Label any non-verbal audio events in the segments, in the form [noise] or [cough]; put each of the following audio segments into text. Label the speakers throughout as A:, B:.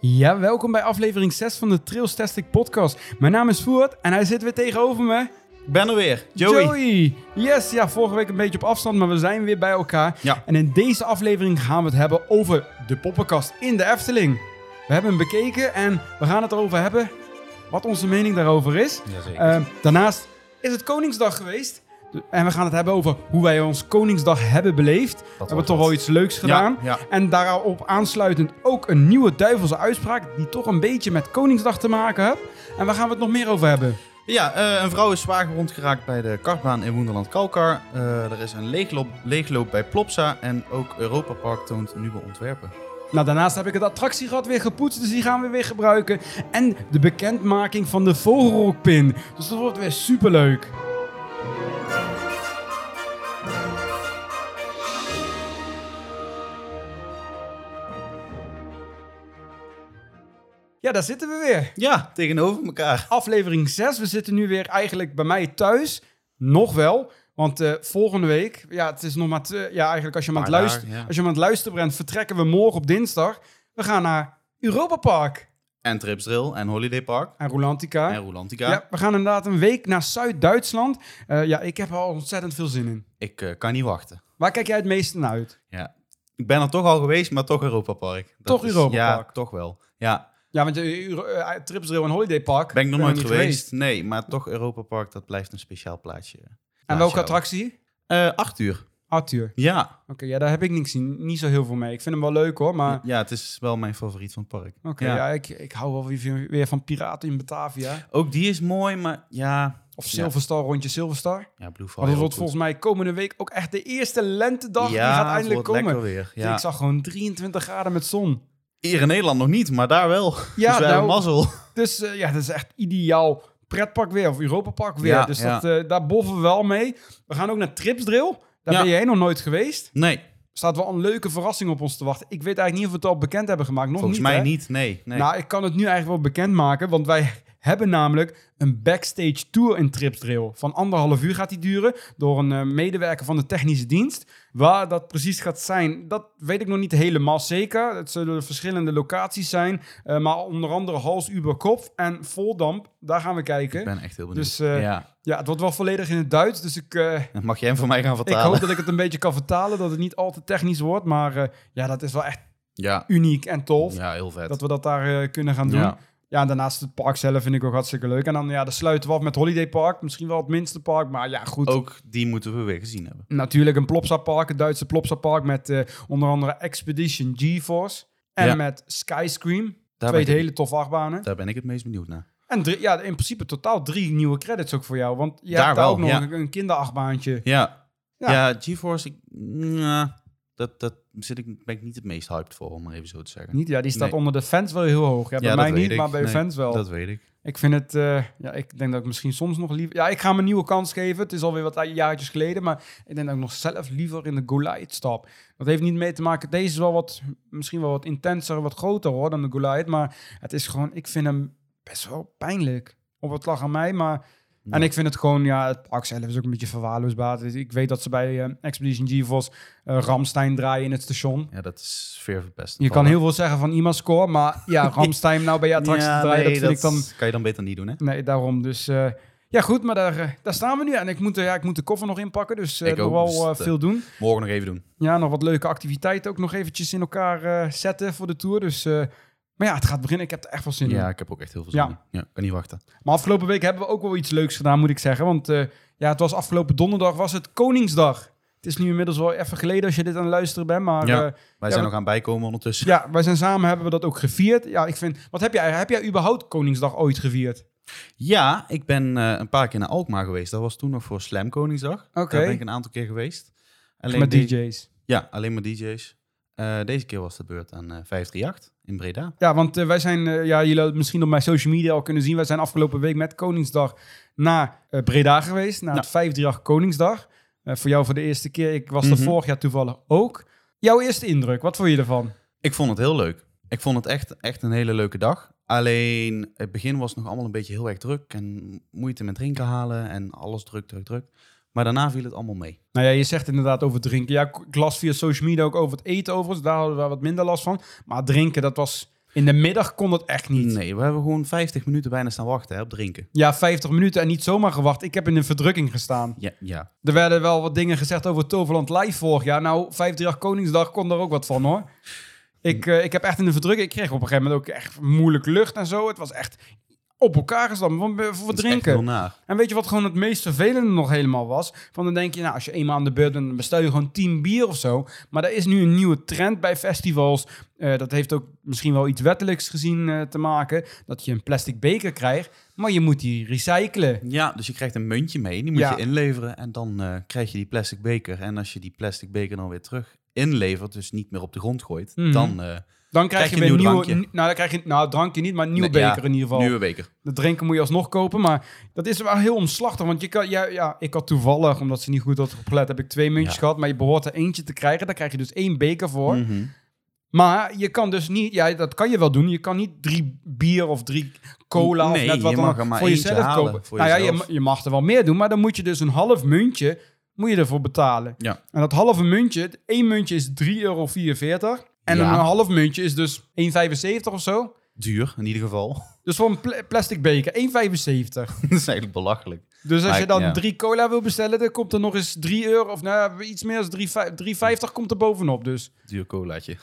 A: Ja, welkom bij aflevering 6 van de Trails Tastic podcast. Mijn naam is Voert en hij zit weer tegenover me,
B: Ik ben er weer. Joey.
A: Yes, ja, vorige week een beetje op afstand, maar we zijn weer bij elkaar.
B: Ja.
A: En in deze aflevering gaan we het hebben over de poppenkast in de Efteling. We hebben hem bekeken en we gaan het erover hebben wat onze mening daarover is. Eh, daarnaast is het Koningsdag geweest. De- En we gaan het hebben over hoe wij ons Koningsdag hebben beleefd. we hebben toch wel iets leuks gedaan.
B: Ja,
A: En daarop aansluitend ook een nieuwe duivelse uitspraak die toch een beetje met Koningsdag te maken heeft. En waar gaan we het nog meer over hebben?
B: ja. ja eh, een vrouw is zwaar gewond geraakt bij de kartbaan in Wonderland Kalkar. Eh, er is een leegloop, leegloop bij Plopsa. En ook Europa Park toont nieuwe ontwerpen.
A: Nou, daarnaast heb ik het attractierad weer gepoetst, dus die gaan we weer gebruiken. En de bekendmaking van de vogelrokpin. Dus dat wordt weer superleuk. Ja, daar zitten we weer.
B: Ja, tegenover elkaar.
A: aflevering 6. We zitten nu weer eigenlijk bij mij thuis. Nog wel. Want eh, volgende week, ja, het is nog maar. te- ja, eigenlijk als je, hem aan het
B: Paar dagen,
A: luisteren,
B: ja.
A: als je hem aan het luisteren bent, vertrekken we morgen op dinsdag. We gaan naar Europa Park
B: En Tripsdrill en Holiday Park.
A: en Rolantica.
B: En Rolantica.
A: ja. we gaan inderdaad een week naar Zuid-Duitsland. Eh, ja, ik heb er al ontzettend veel zin in.
B: Ik eh, kan niet wachten.
A: Waar kijk jij het meest naar uit?
B: Ja. Ik ben er toch al geweest, maar toch Europa Park. Dat
A: Toch Europa
B: ja,
A: Park.
B: toch wel. Ja,
A: Ja, want uh, Tripsrail en Holiday Park.
B: ben ik nog
A: er
B: nooit
A: niet
B: geweest. Nee, maar toch Europa Park, dat blijft een speciaal plaatsje.
A: En welke attractie?
B: Eh acht uur.
A: Arthur.
B: Ja.
A: Oké, ja, daar heb ik niks zien. Niet zo heel veel mee. Ik vind hem wel leuk hoor, maar
B: ja, het is wel mijn favoriet van het park.
A: Oké, ja. ik, ik hou wel weer, weer van Piraten in Batavia.
B: Ook die is mooi, maar ja...
A: Of
B: Ja.
A: Silverstar rondje Silverstar.
B: Ja, Blue Fall.
A: Want het
B: heel
A: Oh, wordt
B: goed.
A: volgens mij komende week ook echt de eerste lentedag
B: Ja,
A: die gaat
B: het
A: eindelijk
B: wordt
A: komen.
B: lekker weer.
A: Dus
B: Ja.
A: Ik zag gewoon 23 graden met zon.
B: Hier in Nederland nog niet, maar daar wel.
A: Ja,
B: [laughs] dus wij
A: nou-
B: hebben mazzel.
A: Dus eh, ja, dat is echt ideaal pretpark weer of Europapark weer.
B: Ja,
A: dus
B: ja.
A: dat, eh, daar boffen we wel mee. We gaan ook naar Tripsdrill. Daar
B: Ja.
A: ben jij nog nooit geweest.
B: Nee,
A: Staat wel een leuke verrassing op ons te wachten. Ik weet eigenlijk niet of we het al bekend hebben gemaakt. Nog
B: volgens
A: niet,
B: mij
A: hè?
B: niet. Nee, nee.
A: Nou, ik kan het nu eigenlijk wel bekendmaken, want wij hebben namelijk een backstage tour in Tripsdrill. Van anderhalf uur gaat die duren door een eh, medewerker van de technische dienst. Waar dat precies gaat zijn, dat weet ik nog niet helemaal zeker. Het zullen verschillende locaties zijn, eh, maar onder andere Hals, Uberkopf en Voldamp. Daar gaan we
B: ik
A: kijken.
B: ben echt heel benieuwd.
A: Dus eh, ja.
B: ja,
A: het wordt wel volledig in het Duits, dus ik, eh,
B: dan mag jij hem voor mij gaan
A: ik
B: vertalen.
A: hoop dat ik het een beetje kan vertalen, dat het niet al te technisch wordt. Maar eh, ja, dat is wel echt
B: [laughs] Ja.
A: uniek en tof.
B: ja, heel vet.
A: Dat we dat daar eh, kunnen gaan doen.
B: Ja.
A: Ja, en daarnaast het park zelf vind ik ook hartstikke leuk. En dan, ja, dan sluiten we af met Holiday Park. Misschien wel het minste park, maar ja, goed.
B: Ook die moeten we weer gezien hebben.
A: Natuurlijk een Plopsa Park, het Duitse Plopsa Park met eh, onder andere Expedition GeForce. En
B: Ja.
A: met Skyscream.
B: Daar
A: twee
B: ben ik-
A: hele toffe achtbanen.
B: Daar ben ik het meest benieuwd naar.
A: En drie- ja, in principe totaal drie nieuwe credits ook voor jou. Want je
B: Daar
A: hebt daar
B: wel,
A: ook nog
B: ja.
A: een- een kinderachtbaantje.
B: Ja.
A: Ja.
B: Ja, GeForce, ik, ja, dat, dat zit ik, ben ik niet het meest hyped voor, om maar even zo te zeggen.
A: Niet, ja, die staat
B: Nee.
A: onder de fans wel heel hoog. Ja, bij
B: dat
A: mij
B: weet
A: niet,
B: ik.
A: maar bij
B: Nee,
A: de fans wel.
B: Dat weet ik.
A: Ik vind het, eh, ja, ik denk dat ik misschien soms nog liever... Ja, ik ga hem een nieuwe kans geven. Het is alweer wat jaartjes geleden. Maar ik denk dat ik nog zelf liever in de Goliath stap. Dat heeft niet mee te maken. Deze is wel wat, misschien wel wat intenser, wat groter hoor, dan de Goliath. Maar het is gewoon, ik vind hem best wel pijnlijk. Op het lag aan mij, maar... En
B: Ja.
A: ik vind het gewoon, ja, het park zelf is ook een beetje verwaarloosbaar. Dus Ik weet dat ze bij eh, Expedition GeForce eh Ramstein draaien in het station.
B: Ja, dat is ver verpest.
A: Je kan heel veel zeggen van IMA-score, maar
B: [laughs]
A: ja, Ramstein nou bij je attractie
B: Ja,
A: draaien,
B: nee,
A: dat vind ik dan...
B: kan je dan beter niet doen, hè?
A: Nee, daarom. Dus eh, ja, goed, maar daar, eh, daar staan we nu. En ik moet, eh, ja, ik moet de koffer nog inpakken, dus eh
B: Ik
A: nog
B: ook,
A: wel
B: dus
A: eh,
B: dat, eh,
A: veel doen.
B: Morgen nog even doen.
A: Ja, nog wat leuke activiteiten ook nog eventjes in elkaar eh, zetten voor de tour. Dus, eh, maar ja, het gaat beginnen. Ik heb er echt wel zin
B: Ja,
A: in.
B: ik heb ook echt heel veel zin
A: Ja.
B: in. Ja, kan niet wachten.
A: Maar afgelopen week hebben we ook wel iets leuks gedaan, moet ik zeggen. Want eh, ja, het was afgelopen donderdag was het Koningsdag. Het is nu inmiddels wel even geleden als je dit aan het luisteren bent. Maar
B: Ja.
A: ja,
B: Wij
A: Ja,
B: zijn
A: wat-
B: nog aan het bijkomen ondertussen.
A: ja wij zijn samen, hebben we dat ook gevierd. Ja, ik vind... Wat heb jij, heb jij überhaupt Koningsdag ooit gevierd?
B: Ja, ik ben eh, een paar keer naar Alkmaar geweest. Dat was toen nog voor Slam Koningsdag.
A: Oké.
B: Daar ben ik een aantal keer geweest. Alleen
A: Met
B: de-
A: DJ's.
B: Ja, alleen maar DJ's. Eh, deze keer was de beurt aan eh 538 in Breda.
A: Ja, want eh, wij zijn, eh, ja, jullie hebben het misschien op mijn social media al kunnen zien. Wij zijn afgelopen week met Koningsdag naar eh, Breda geweest. Naar het vijfdrag Koningsdag. Eh, voor jou voor de eerste keer. Ik was er
B: Mhm.
A: vorig jaar toevallig ook. Jouw eerste indruk, wat vond je ervan?
B: Ik vond het heel leuk. Ik vond het echt, echt een hele leuke dag. Alleen het begin was nog allemaal een beetje heel erg druk. En moeite met drinken halen en alles druk, druk, druk. Maar daarna viel het allemaal mee.
A: Nou ja, je zegt inderdaad over drinken. Ja, ik las via social media ook over het eten overigens. Daar hadden we wat minder last van. Maar drinken, dat was... In de middag kon dat echt niet.
B: Nee, we hebben gewoon 50 minuten bijna staan wachten hè, op drinken.
A: Ja, 50 minuten en niet zomaar gewacht. Ik heb in een verdrukking gestaan.
B: Ja, ja.
A: Er werden wel wat dingen gezegd over Toverland Live vorig jaar. Nou, 538 Koningsdag kon daar ook wat van hoor. Ik, eh, ik heb echt in de verdrukking... Ik kreeg op een gegeven moment ook echt moeilijk lucht en zo. Het was echt op elkaar gestampt. Voor, voor
B: Dat is echt
A: drinken.
B: heel naar.
A: En weet je wat gewoon het meest vervelende nog helemaal was? Van dan denk je, nou, als je eenmaal aan de beurt bent, dan bestel je gewoon 10 bier of zo. Maar er is nu een nieuwe trend bij festivals. Eh, dat heeft ook misschien wel iets wettelijks gezien eh, te maken. Dat je een plastic beker krijgt, maar je moet die recyclen.
B: Ja, dus je krijgt een muntje mee, die moet
A: Ja.
B: je inleveren en dan eh, krijg je die plastic beker. En als je die plastic beker dan weer terug inlevert, dus niet meer op de grond gooit,
A: Mhm.
B: dan eh
A: Dan krijg,
B: Krijg
A: je
B: je
A: weer
B: een nieuw
A: nieuwe.
B: drankje.
A: Nou, dan krijg je, nou, drankje niet, maar een nieuwe
B: Nee, ja,
A: beker in ieder geval.
B: nieuwe beker.
A: De drinken moet je alsnog kopen, maar dat is wel heel omslachtig. Want je kan, ja, ja, ik had toevallig, omdat ze niet goed had opgelet, heb ik twee muntjes
B: Ja.
A: gehad. Maar je behoort er eentje te krijgen. Daar krijg je dus één beker voor.
B: Mhm.
A: Maar je kan dus niet, ja, dat kan je wel doen. Je kan niet drie bier of drie cola
B: Nee,
A: of net wat
B: je
A: dan
B: mag
A: ook
B: er maar
A: voor
B: eentje
A: jezelf
B: halen
A: kopen.
B: voor
A: nou ja, je,
B: jezelf.
A: ma- je mag er wel meer doen, maar dan moet je dus een half muntje moet je ervoor betalen.
B: Ja.
A: En dat halve muntje, één muntje is 3,44 euro. En
B: Ja.
A: een half muntje is dus 1,75 of zo.
B: Duur, in ieder geval. [laughs]
A: Dus voor een pla- plastic beker, 1,75.
B: dat is eigenlijk belachelijk.
A: Dus als
B: Maar
A: je
B: ik-
A: dan
B: ja.
A: drie cola wil bestellen, dan komt er nog eens 3 euro. Of nou, ja, iets meer dan 3,50 komt er bovenop dus.
B: Duur
A: [laughs]
B: colaatje.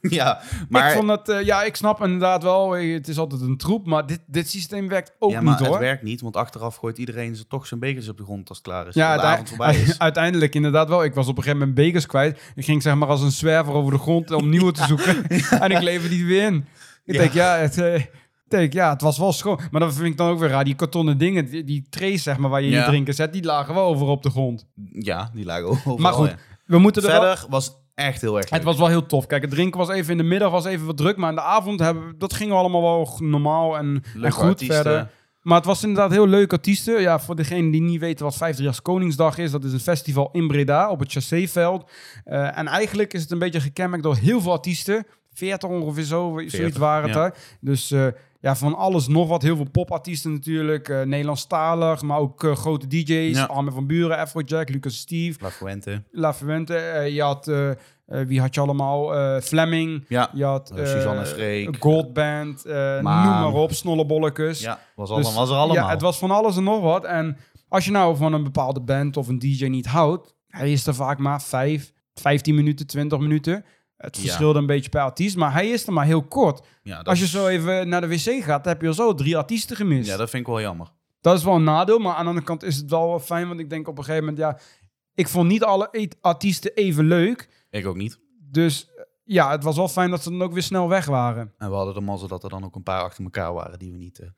B: ja,
A: Maar,
B: maar,
A: ik vond dat, eh, ja, ik snap inderdaad wel, eh, het is altijd een troep, maar dit, dit systeem werkt ook
B: ja, maar
A: niet
B: het
A: hoor.
B: werkt niet, want achteraf gooit iedereen zo- toch zijn bekers op de grond als het klaar
A: [laughs]
B: is.
A: ja,
B: Ja, de
A: daar-
B: avond voorbij is.
A: uiteindelijk inderdaad wel. Ik was op een gegeven moment bekers kwijt. Ik ging zeg maar als een zwerver over de grond
B: [laughs]
A: om nieuwe te zoeken. En ik lever die weer in. Ik
B: Ja.
A: denk, ja, het, eh, ik denk, ja, het was wel schoon. Maar dat vind ik dan ook weer raar. Die kartonnen dingen, die, die trays zeg maar, waar je je
B: Ja.
A: drinken zet, die lagen wel over op de grond.
B: Ja, die lagen overal.
A: Maar goed,
B: ja.
A: we moeten er wel-
B: Verder was het echt heel erg leuk.
A: Het was wel heel tof. Kijk, het drinken was even in de middag was even wat druk, maar in de avond hebben we- dat ging allemaal wel normaal en, en
B: Leuke
A: goed
B: artiesten.
A: verder. Maar het was inderdaad heel leuk artiesten. Ja, voor degenen die niet weten wat 538 Koningsdag is, dat is een festival in Breda op het Chasséveld. Eh, en eigenlijk is het een beetje gekenmerkt door heel veel artiesten. 40 ongeveer zo, zoiets
B: 40,
A: waren het
B: ja.
A: daar. Dus eh, ja, van alles nog wat. Heel veel popartiesten natuurlijk. eh, Nederlandstalig, maar ook eh, grote DJ's.
B: Ja.
A: Armin van Buren, Afrojack, Lucas Steve,
B: La Fuente.
A: La Fuente. eh, je had, eh, eh, wie had je allemaal? Eh, Fleming.
B: Ja,
A: Je had
B: Eh, Suzanne
A: eh,
B: Freek.
A: Goldband, eh, noem maar op, snollebollekes.
B: ja was,
A: Dus-
B: allemaal, was er allemaal.
A: Ja, het was van alles en nog wat. En als je nou van een bepaalde band of een DJ niet houdt, hij is er vaak maar 5, 15 minuten, 20 minuten. Het
B: Ja.
A: verschilde een beetje per artiest, maar hij is er maar heel kort.
B: Ja, dat
A: Als je
B: is-
A: zo even naar de wc gaat, dan heb je al zo drie artiesten gemist.
B: Ja,
A: dat...
B: dat vind ik wel jammer.
A: is wel een nadeel, maar aan de andere kant is het wel fijn, want ik denk op een gegeven moment, ja, ik vond niet alle e- artiesten even leuk.
B: Ik ook niet.
A: Dus ja, het was wel fijn dat ze dan ook weer snel weg waren.
B: En we hadden de mazzel dat er dan ook een paar achter elkaar waren die we niet eh,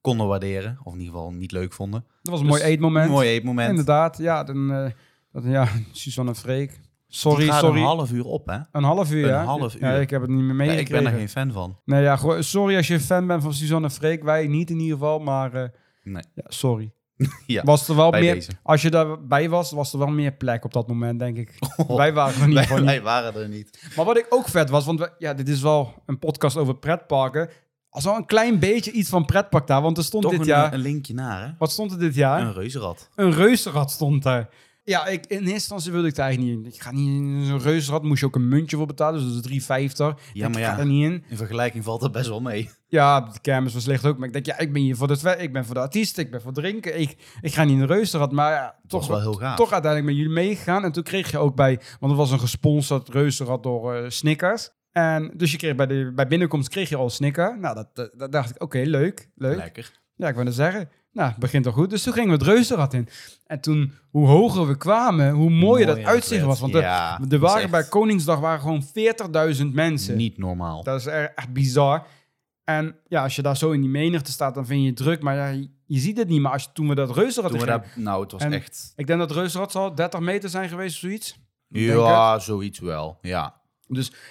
B: konden waarderen. Of in ieder geval niet leuk vonden.
A: Dat was een
B: Dus,
A: mooi eetmoment.
B: Mooi eetmoment.
A: Inderdaad, ja. Dan, eh, dat, ja, [laughs] Suzanne Freek.
B: Die
A: Sorry,
B: gaat
A: sorry.
B: een half uur op, hè?
A: Een half uur,
B: Een
A: ja.
B: half
A: Ja,
B: uur.
A: ik heb het niet meer
B: Ja, ik
A: meegekregen.
B: ben er geen fan van.
A: Nee, ja, gewoon- sorry als je fan bent van Suzanne Freek. Wij niet in ieder geval, maar eh,
B: Nee.
A: ja, sorry.
B: [laughs] Ja,
A: was er wel
B: bij
A: meer,
B: deze.
A: Als je daarbij was, was er wel meer plek op dat moment, denk
B: [laughs]
A: ik.
B: Oh.
A: Wij waren er niet.
B: Wij, [laughs]
A: van.
B: wij waren er niet.
A: Maar wat ik ook vet was, want we- ja, dit is wel een podcast over pretparken. Als al een klein beetje iets van pretpark daar, want er stond
B: Toch
A: dit
B: een, eh,
A: jaar...
B: een linkje naar, hè?
A: Wat stond er dit jaar?
B: Een reuzenrad.
A: Een reuzenrad stond daar. Ja, ik, in eerste instantie wilde ik daar eigenlijk niet in. Ik ga niet in zo'n reuzenrad. Moest je ook een muntje voor betalen, dus dat is 3,50.
B: Ja,
A: ik
B: maar
A: ga
B: ja.
A: er niet in.
B: In vergelijking valt dat best wel mee.
A: Ja, de kermis was slecht ook. Maar ik denk, ja, ik ben hier voor de, twe- ik ben voor de artiest, ik ben voor drinken. Ik, ik ga niet in een reuzenrad. Maar ja, toch,
B: was wel heel gaaf.
A: toch uiteindelijk met jullie meegegaan. En toen kreeg je ook bij, want het was een gesponsord reuzenrad door eh, Snickers. En dus je kreeg bij, de, bij binnenkomst kreeg je al een Snicker. Nou, dat, dat, dat dacht ik, oké, leuk, leuk.
B: Lekker.
A: Ja, ik wou net zeggen. Nou, het begint al goed. Dus toen gingen we het reuzenrad in. En toen, hoe hoger we kwamen, hoe mooier, dat uitzicht was. Want er
B: ja,
A: er
B: dat is
A: waren
B: echt
A: bij Koningsdag waren gewoon 40.000 mensen.
B: Niet normaal.
A: Dat is echt, echt bizar. En ja, als je daar zo in die menigte staat, dan vind je het druk. Maar ja, je- je ziet het niet. Maar als, je- toen we dat reuzenrad
B: Toen we
A: in
B: daar, nou, het was
A: En-
B: echt...
A: Ik denk dat het reuzenrad zal 30 meter zijn geweest of zoiets. Ik denk
B: Ja, zoiets wel. Ja.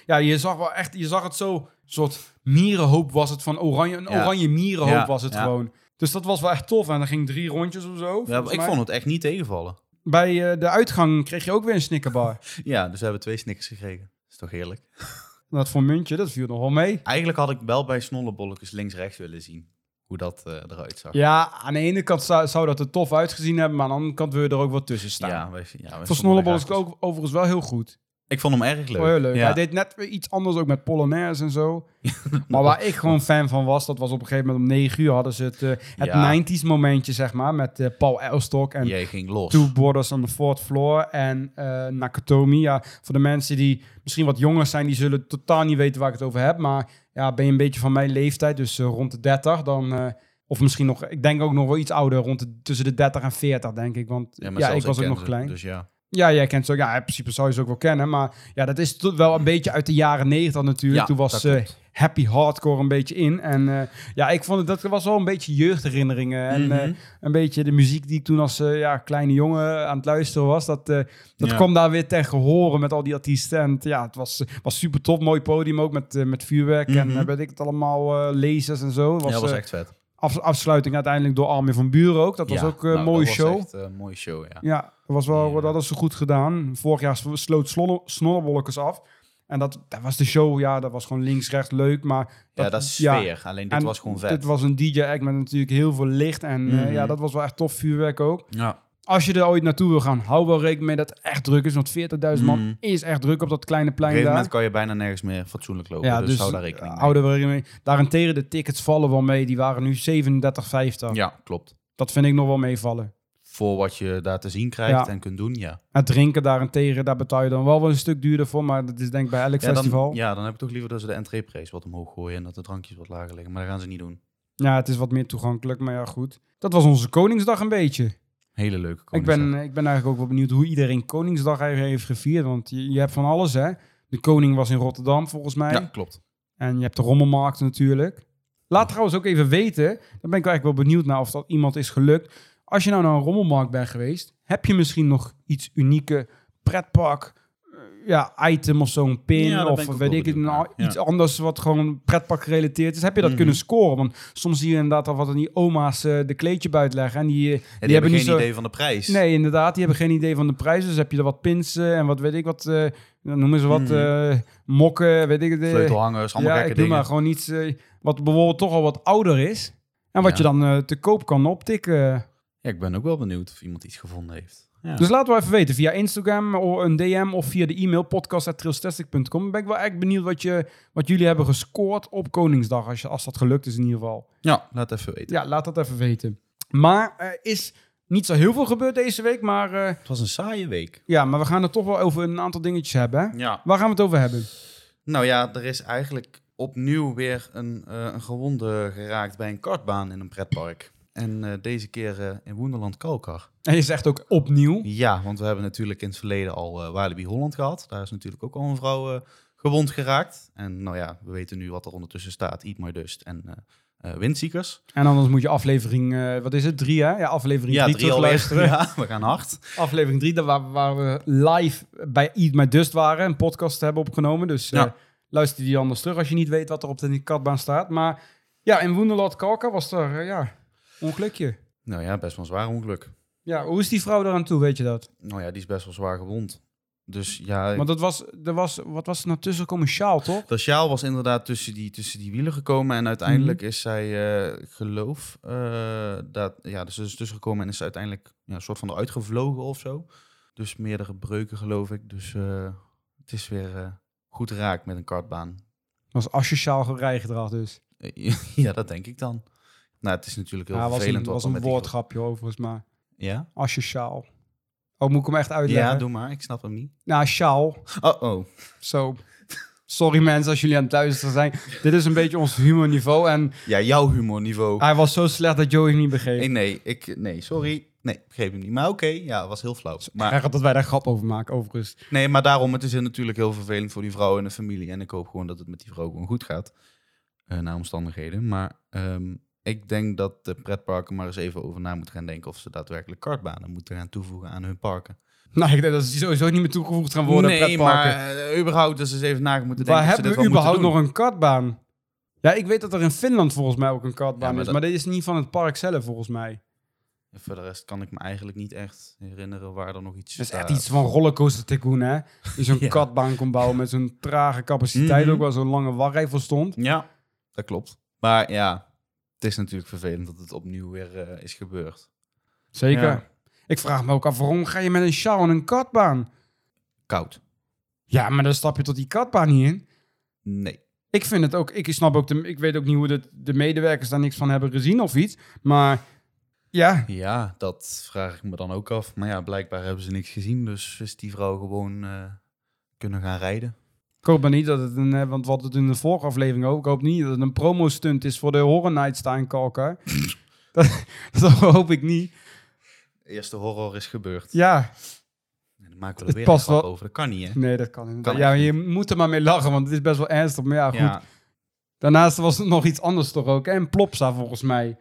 A: Ja, je zag wel echt, je zag het zo, een soort mierenhoop was het van oranje. Een
B: Ja.
A: oranje mierenhoop
B: Ja,
A: was het
B: ja.
A: gewoon. Dus dat was wel echt tof. En dan ging drie rondjes of zo.
B: ja
A: volgens
B: ik
A: mij.
B: vond het echt niet tegenvallen.
A: Bij eh, de uitgang kreeg je ook weer een snickerbar.
B: Ja, dus we hebben twee snickers gekregen. Is toch heerlijk?
A: [laughs] dat voor muntje, dat viel nog wel mee.
B: Eigenlijk had ik wel bij snollebolletjes links-rechts willen zien. hoe dat eh, eruit zag.
A: Ja, aan de ene kant zou, zou dat er tof uitgezien hebben, maar aan de andere kant wil je er ook wat tussen staan.
B: Ja, wij, ja,
A: Voor
B: wij stonden
A: Snollebol is
B: er
A: het ook overigens wel heel goed.
B: Ik vond hem erg leuk.
A: Wel heel leuk.
B: Ja.
A: Hij deed net weer iets anders ook met Polonaise en
B: [laughs]
A: zo. maar waar ik gewoon fan van was, dat was op een gegeven moment om 9 uur hadden ze het, eh, het
B: Ja.
A: 90s momentje, zeg maar, met eh, Paul Elstok en
B: Jij ging los.
A: Two Borders on the Fourth Floor en eh, Nakatomi. Ja, voor de mensen die misschien wat jonger zijn, die zullen totaal niet weten waar ik het over heb. Maar ja, ben je een beetje van mijn leeftijd, dus eh, rond de 30, dan... eh, of misschien nog, ik denk ook nog wel iets ouder, rond de, tussen de 30 en 40, denk ik. Want ja,
B: maar zelfs
A: ik was ook
B: ken
A: nog
B: ze,
A: klein.
B: Dus ja.
A: Ja, jij kent ze ook. Ja, in principe zou je ze ook wel kennen. Maar ja, dat is toch wel een beetje uit de jaren negentig natuurlijk.
B: Ja,
A: Toen was
B: dat
A: eh,
B: klopt.
A: happy hardcore een beetje in. En eh, ja, ik vond het, dat was wel een beetje jeugdherinneringen. En eh,
B: Mhm.
A: een beetje de muziek die ik toen als eh, ja, kleine jongen aan het luisteren was. Dat, eh, dat
B: Ja.
A: kwam daar weer ten gehore met al die artiesten. En het, ja, het was, eh, was super top. Mooi podium ook met, eh, met vuurwerk en
B: Mhm.
A: eh, weet ik het allemaal, eh, lasers en zo. Het
B: Ja,
A: Was,
B: dat was
A: eh,
B: echt vet.
A: af- afsluiting uiteindelijk door Armin van Buren ook. Dat was
B: Ja,
A: ook eh,
B: nou,
A: een mooie
B: dat
A: show.
B: Was echt, eh, een mooie show, ja.
A: Ja, dat was wel,
B: Ja.
A: dat was goed gedaan. Vorig jaar sloot Snolle- Snollewolkers af. En dat, dat was de show, ja, dat was gewoon links, rechts, leuk. Maar
B: Ja, dat is
A: ja.
B: sfeer. Alleen dit
A: En
B: was gewoon vet.
A: dit was een DJ-act met natuurlijk heel veel licht. En eh,
B: Mhm.
A: ja, dat was wel echt tof vuurwerk ook.
B: Ja.
A: Als je er ooit naartoe wil gaan, hou wel rekening mee dat het echt druk is. Want 40.000
B: Mhm.
A: man is echt druk op dat kleine
B: Op een
A: plein daar.
B: gegeven moment kan je bijna nergens meer fatsoenlijk lopen.
A: Ja,
B: dus,
A: dus
B: hou daar rekening mee.
A: Hou er wel rekening mee. Daarentegen, de tickets vallen wel mee. Die waren nu 37,50.
B: Ja, klopt.
A: Dat vind ik nog wel meevallen.
B: Voor wat je daar te zien krijgt
A: Ja.
B: en kunt doen, ja.
A: Het drinken daarentegen, daar betaal je dan wel wel een stuk duurder voor. Maar dat is denk ik bij elk
B: Ja
A: festival.
B: dan, ja, dan heb ik toch liever dat ze de entreeprijs wat omhoog gooien en dat de drankjes wat lager liggen. Maar dat gaan ze niet doen.
A: Ja, het is wat meer toegankelijk, maar ja, goed. Dat was onze Koningsdag een beetje.
B: Hele leuke
A: Ik
B: Koningsdag.
A: ben, eh, ik ben eigenlijk ook wel benieuwd hoe iedereen Koningsdag eigenlijk heeft gevierd. Want je, je hebt van alles, hè. De koning was in Rotterdam, volgens mij.
B: Ja, klopt.
A: En je hebt de rommelmarkt natuurlijk. Laat trouwens ook even weten, daar ben ik eigenlijk wel benieuwd naar of dat iemand is gelukt. Als je nou naar een rommelmarkt bent geweest, heb je misschien nog iets unieke pretpark, eh, ja, item of zo'n pin
B: Ja, daar ben
A: of
B: ik ook
A: weet
B: wel
A: ik het,
B: benieuwd
A: nou,
B: naar,
A: iets anders wat gewoon pretpark gerelateerd is. Heb je dat
B: Mhm.
A: kunnen scoren? Want soms zie je inderdaad al wat aan die oma's eh, de kleedje buiten leggen en die, eh,
B: Ja,
A: die,
B: die, hebben
A: niet
B: geen
A: zo...
B: idee van de prijs.
A: Nee, inderdaad. Die hebben geen idee van de prijzen. Dus heb je er wat pins eh, en wat weet ik wat. eh, noemen ze wat.
B: Mhm.
A: eh, mokken, weet ik het. eh,
B: Sleutelhangers, allemaal
A: ja,
B: gekke
A: ik doe
B: dingen.
A: maar gewoon iets eh, wat bijvoorbeeld toch al wat ouder is. En wat
B: Ja.
A: je dan eh, te koop kan optikken.
B: Ja, ik ben ook wel benieuwd of iemand iets gevonden heeft. Ja.
A: Dus laten we even weten via Instagram of een DM of via de e-mail podcast.trailstastic.com. Ben ik wel echt benieuwd wat, je, wat jullie hebben gescoord op Koningsdag. Als, je, als dat gelukt is in ieder geval.
B: ja, laat even weten.
A: Ja, laat dat even weten. Maar er is niet zo heel veel gebeurd deze week. Maar, eh,
B: Het was een saaie week.
A: ja, maar we gaan het toch wel over een aantal dingetjes hebben. Hè?
B: Ja.
A: Waar gaan we het over hebben?
B: Nou ja, er is eigenlijk opnieuw weer een, eh, een gewonde geraakt bij een kartbaan in een pretpark. En eh, deze keer eh, in Woenderland Kalkar.
A: En je zegt ook opnieuw.
B: Ja, want we hebben natuurlijk in het verleden al eh Walibi Holland gehad. Daar is natuurlijk ook al een vrouw eh, gewond geraakt. En nou ja, we weten nu wat er ondertussen staat. Eat My Dust en eh, eh, Windseekers.
A: En anders moet je aflevering, eh, wat is het, drie hè? Ja, aflevering
B: Ja,
A: drie,
B: drie alweer.
A: terugluisteren.
B: [laughs] Ja, we gaan hard.
A: Aflevering 3, waar, waar we live bij Eat My Dust waren. Een podcast hebben opgenomen. Dus eh,
B: Ja.
A: luister die anders terug als je niet weet wat er op de katbaan staat. Maar ja, in Woenderland Kalka was er, eh, ja, ongelukje.
B: Nou ja, best wel een zwaar ongeluk.
A: Ja, hoe is die vrouw eraan toe, weet je dat?
B: Nou ja, die is best wel zwaar gewond. Dus ja,
A: Want dat was, er was, wat was er nou tussen komen? Sjaal, toch?
B: Dat sjaal was inderdaad tussen die, tussen die wielen gekomen. En uiteindelijk
A: Mhm.
B: is zij, eh, ik geloof, eh, dat, ja, dus ze is tussengekomen en is ze uiteindelijk ja, een soort van eruit gevlogen of zo. Dus meerdere breuken, geloof ik. Dus eh, het is weer eh, goed raak met een kartbaan. [laughs]
A: was asociaal rijgedrag dus.
B: Eh, ja, dat denk ik dan. Nou, het is natuurlijk heel
A: Ja, was een,
B: vervelend.
A: was
B: wat
A: een
B: er met die
A: woordgrapje overigens, maar
B: gro- Ja?
A: asociaal. Oh, moet ik hem echt uitleggen?
B: ja, doe maar. Ik snap hem niet.
A: Nou, sjaal.
B: Oh, oh.
A: Zo. Sorry mensen als jullie aan het luisteren zijn. Dit is een beetje ons humorniveau. En
B: Ja, jouw humorniveau.
A: hij was zo slecht dat Joey hem niet begreep.
B: Nee, nee, ik, nee, sorry. Nee, begreep hem niet. Maar oké, ja, het was heel flauw. Maar
A: Erg dat wij daar grap over maken, overigens. [laughs]
B: Nee, maar daarom, het is heel natuurlijk heel vervelend voor die vrouw en de familie. En ik hoop gewoon dat het met die vrouw gewoon goed gaat. eh, naar omstandigheden. Maar ehm, ik denk dat de pretparken maar eens even over na moeten gaan denken... of ze daadwerkelijk kartbanen moeten gaan toevoegen aan hun parken.
A: Nou, ik denk dat ze sowieso niet meer toegevoegd gaan worden.
B: nee,
A: pretparken.
B: maar eh, überhaupt dat ze eens even na moeten denken...
A: Waar
B: of ze
A: hebben
B: dit
A: we
B: wel
A: überhaupt nog
B: moeten
A: een kartbaan? Ja, ik weet dat er in Finland volgens mij ook een kartbaan
B: Ja, maar
A: is.
B: dat-
A: Maar dit is niet van het park zelf, volgens mij.
B: doen. Voor de rest kan ik me eigenlijk niet echt herinneren waar er nog iets eh,
A: Het is
B: staat.
A: echt iets van Rollercoaster Tycoon, hè? Die zo'n
B: [laughs] Ja.
A: kartbaan kon bouwen met zo'n trage capaciteit.
B: Mhm.
A: Ook wel zo'n lange wachtrij voor stond.
B: Ja, dat klopt. Maar ja, Het is natuurlijk vervelend dat het opnieuw weer eh, is gebeurd.
A: Zeker.
B: Ja.
A: Ik vraag me ook af, waarom ga je met een sjaal en een katbaan?
B: Koud.
A: Ja, maar dan stap je tot die katbaan niet in.
B: Nee.
A: Ik vind het ook, ik snap ook, de, ik weet ook niet hoe de, de medewerkers daar niks van hebben gezien of iets. Maar ja,
B: Ja, dat vraag ik me dan ook af. Maar ja, blijkbaar hebben ze niks gezien. Dus is die vrouw gewoon eh, kunnen gaan rijden.
A: ik hoop maar niet dat het een, eh, want wat het in de vorige aflevering ook, ik hoop niet dat het een promo-stunt is voor de Horror Nights daar in [laughs] Kalkar. dat, dat hoop ik niet.
B: Eerste horror is gebeurd.
A: Ja,
B: En dan maken we er
A: Het
B: weer
A: past
B: een grap
A: wel.
B: over. Dat kan niet, hè?
A: nee, dat kan inderdaad.
B: Kan
A: ja,
B: echt
A: je moet er maar mee lachen, want het is best wel ernstig. Maar ja, goed.
B: Ja,
A: Daarnaast was het nog iets anders toch ook, hè? Een plopsa volgens mij.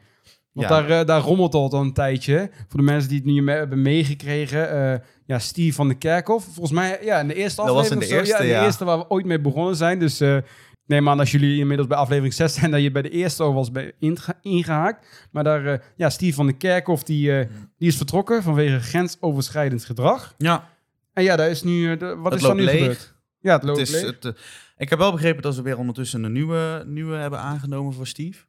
A: Want
B: Ja.
A: daar, eh, daar rommelt al dan een tijdje. Voor de mensen die het nu me- hebben meegekregen. eh, ja, Steve van de Kerkhof. Volgens mij, ja, in de eerste
B: Dat was
A: aflevering.
B: in de
A: of zo.
B: eerste,
A: in de
B: ja.
A: eerste waar we ooit mee begonnen zijn. Dus eh neem aan als jullie inmiddels bij aflevering 6 zijn... dat je bij de eerste al was bij inge- ingehaakt. Maar daar, eh, ja, Steve van de Kerkhof, die, eh, die is vertrokken... vanwege grensoverschrijdend gedrag.
B: ja
A: En ja, daar is nu... eh, de- wat
B: het
A: is daar
B: loopt
A: nu
B: leeg.
A: gebeurd? Ja, het loopt
B: Het is,
A: leeg.
B: het, eh, ik heb wel begrepen dat ze weer ondertussen een nieuwe, nieuwe hebben aangenomen voor Steve.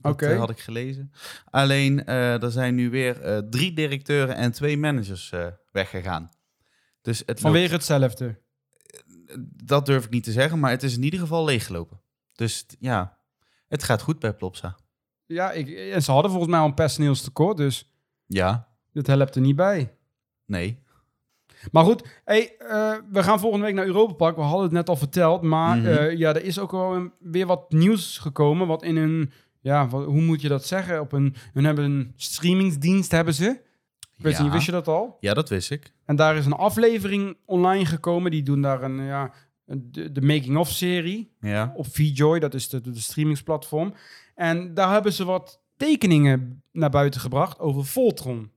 B: Dat
A: Oké.
B: eh, had ik gelezen. Alleen, eh, er zijn nu weer eh, drie directeuren en twee managers eh, weggegaan. Dus het loopt-
A: Vanwege hetzelfde.
B: dat durf ik niet te zeggen, maar het is in ieder geval leeggelopen. Dus t- ja, het gaat goed bij Plopsa.
A: Ja, ik, en ze hadden volgens mij al een personeelstekort, dus
B: Ja,
A: dat helpt er niet bij.
B: nee.
A: Maar goed, hey, eh, we gaan volgende week naar Europa Park. We hadden het net al verteld, maar
B: Mhm.
A: eh, ja, er is ook wel een- weer wat nieuws gekomen. Wat in een, ja, wat- hoe moet je dat zeggen? Op een, hun hebben een streamingsdienst, hebben ze. Ik weet
B: ja.
A: niet, wist je dat al?
B: ja, dat wist ik.
A: En daar is een aflevering online gekomen. Die doen daar een, ja, een- de, de making-of-serie
B: Ja.
A: op VJoy. Dat is de, de streamingsplatform. En daar hebben ze wat tekeningen naar buiten gebracht over Voltron.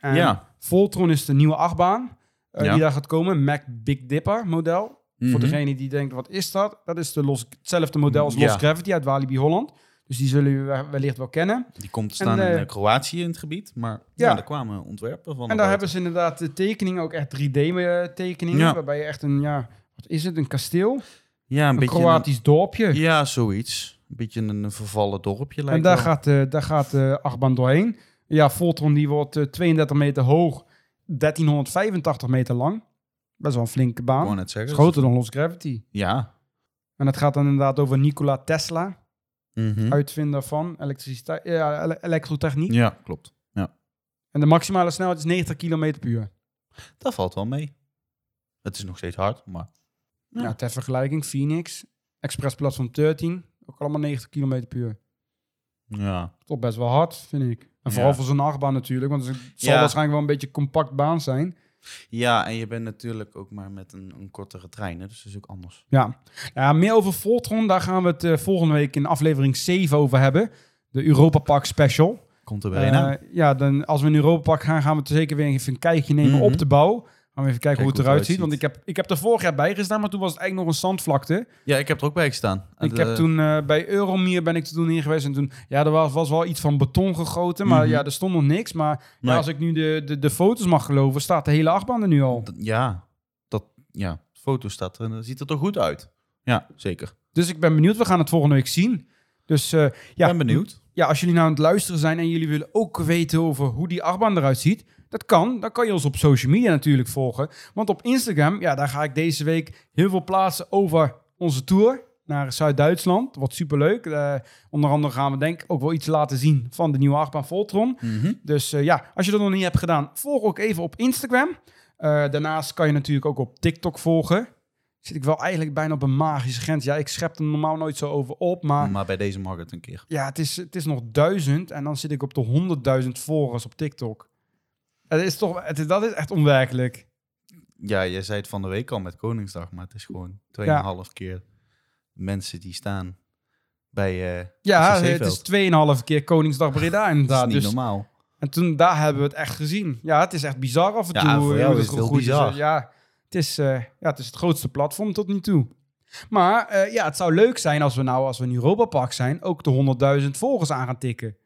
A: En
B: ja.
A: Voltron is de nieuwe achtbaan eh,
B: Ja.
A: die daar gaat komen. Mac Big Dipper model. Voor
B: Mhm.
A: degene die denkt, wat is dat? Dat is de los, hetzelfde model als
B: Ja.
A: Lost Gravity uit Walibi Holland. Dus die zullen jullie wellicht wel kennen.
B: Die komt te staan
A: En,
B: in
A: eh,
B: eh, Kroatië in het gebied, maar ja.
A: ja.
B: daar kwamen ontwerpen van.
A: En daar hebben ze inderdaad de tekeningen, ook echt 3D-tekeningen.
B: Ja.
A: Waarbij je echt een, ja, wat is het? Een kasteel? Een,
B: ja, een, beetje
A: Kroatisch dorpje.
B: een- ja, zoiets. Een beetje een, een vervallen dorpje lijkt
A: En daar
B: wel.
A: gaat, eh daar gaat de achtbaan doorheen. Ja, Voltron die wordt eh, 32 meter hoog, 1385 meter lang. Best wel een flinke
B: Ik
A: baan.
B: wou net zeggen.
A: Is groter dan Lost Gravity.
B: Ja.
A: En het gaat dan inderdaad over Nikola Tesla,
B: Mhm.
A: uitvinder van elektriciteit, ja, ele- elektrotechniek.
B: Ja, klopt.
A: En de maximale snelheid is 90 km per uur.
B: Dat valt wel mee. Het is nog steeds hard, maar... Ja.
A: Ja, ter vergelijking, Phoenix, Express Platform 13, ook allemaal 90 km per uur.
B: Ja.
A: Toch best wel hard, vind ik. En vooral
B: Ja.
A: voor zo'n achtbaan natuurlijk, want het zal
B: Ja.
A: waarschijnlijk wel een beetje compact baan zijn.
B: ja, en je bent natuurlijk ook maar met een, een kortere trein, hè, dus dat is ook anders.
A: Ja. ja, meer over Voltron, daar gaan we het eh, volgende week in aflevering 7 over hebben. De Europa Park Special.
B: Komt er weer een aan.
A: Eh, ja, dan als we in Europa Park gaan, gaan we het zeker weer even een kijkje nemen
B: Mhm.
A: op de bouw. Gaan we even kijken
B: Kijk
A: hoe het
B: hoe het
A: eruit ziet.
B: eruit
A: Want ik heb, ik heb er vorig jaar bij gestaan, maar toen was het eigenlijk nog een zandvlakte.
B: Ja, ik heb er ook bij gestaan.
A: ik
B: Eh,
A: heb toen eh, bij Euromier ben ik toen hier geweest. En toen, ja, er was, was wel iets van beton gegoten. Maar
B: Mhm.
A: ja, er stond nog niks. Maar ja,
B: Nee.
A: als ik nu de, de, de foto's mag geloven, staat de hele achtbaan er nu al.
B: dat- ja, dat... Ja, foto staat er en dan ziet het er goed uit. Ja, zeker.
A: Dus ik ben benieuwd. We gaan het volgende week zien. Dus eh,
B: Ik
A: ja,
B: ben benieuwd.
A: ja, als jullie nou aan het luisteren zijn en jullie willen ook weten over hoe die achtbaan eruit ziet, dat kan. Dan kan je ons op social media natuurlijk volgen. Want op Instagram, ja, daar ga ik deze week heel veel plaatsen over onze tour naar Zuid-Duitsland. Wat superleuk. Eh onder andere gaan we denk ik ook wel iets laten zien van de nieuwe achtbaan Voltron.
B: Mhm.
A: Dus eh, ja, als je dat nog niet hebt gedaan, volg ook even op Instagram. Eh, daarnaast kan je natuurlijk ook op TikTok volgen. Zit ik wel eigenlijk bijna op een magische grens. Ja, ik schep er normaal nooit zo over op, maar
B: Maar bij deze mag het een keer.
A: ja, het is, het is nog duizend en dan zit ik op de honderdduizend volgers op TikTok. Het is toch, het is, dat is echt onwerkelijk.
B: Ja, jij zei het van de week al met Koningsdag, maar het is gewoon 2,5 keer mensen die staan bij... eh,
A: Ja,
B: Dat is een
A: het
B: zeeveld.
A: is 2,5 keer Koningsdag Breda
B: [laughs] dat is
A: inderdaad.
B: niet
A: Dus,
B: normaal.
A: en toen, daar hebben we het echt gezien. Ja, het is echt bizar af en toe.
B: Ja, voor
A: hoe
B: jou
A: het
B: is het heel
A: gegroeid
B: bizar.
A: Ja, het is, eh, ja, het is het grootste platform tot nu toe. Maar eh, ja, het zou leuk zijn als we nou, als we in Europa Park zijn, ook de 100.000 volgers aan gaan tikken.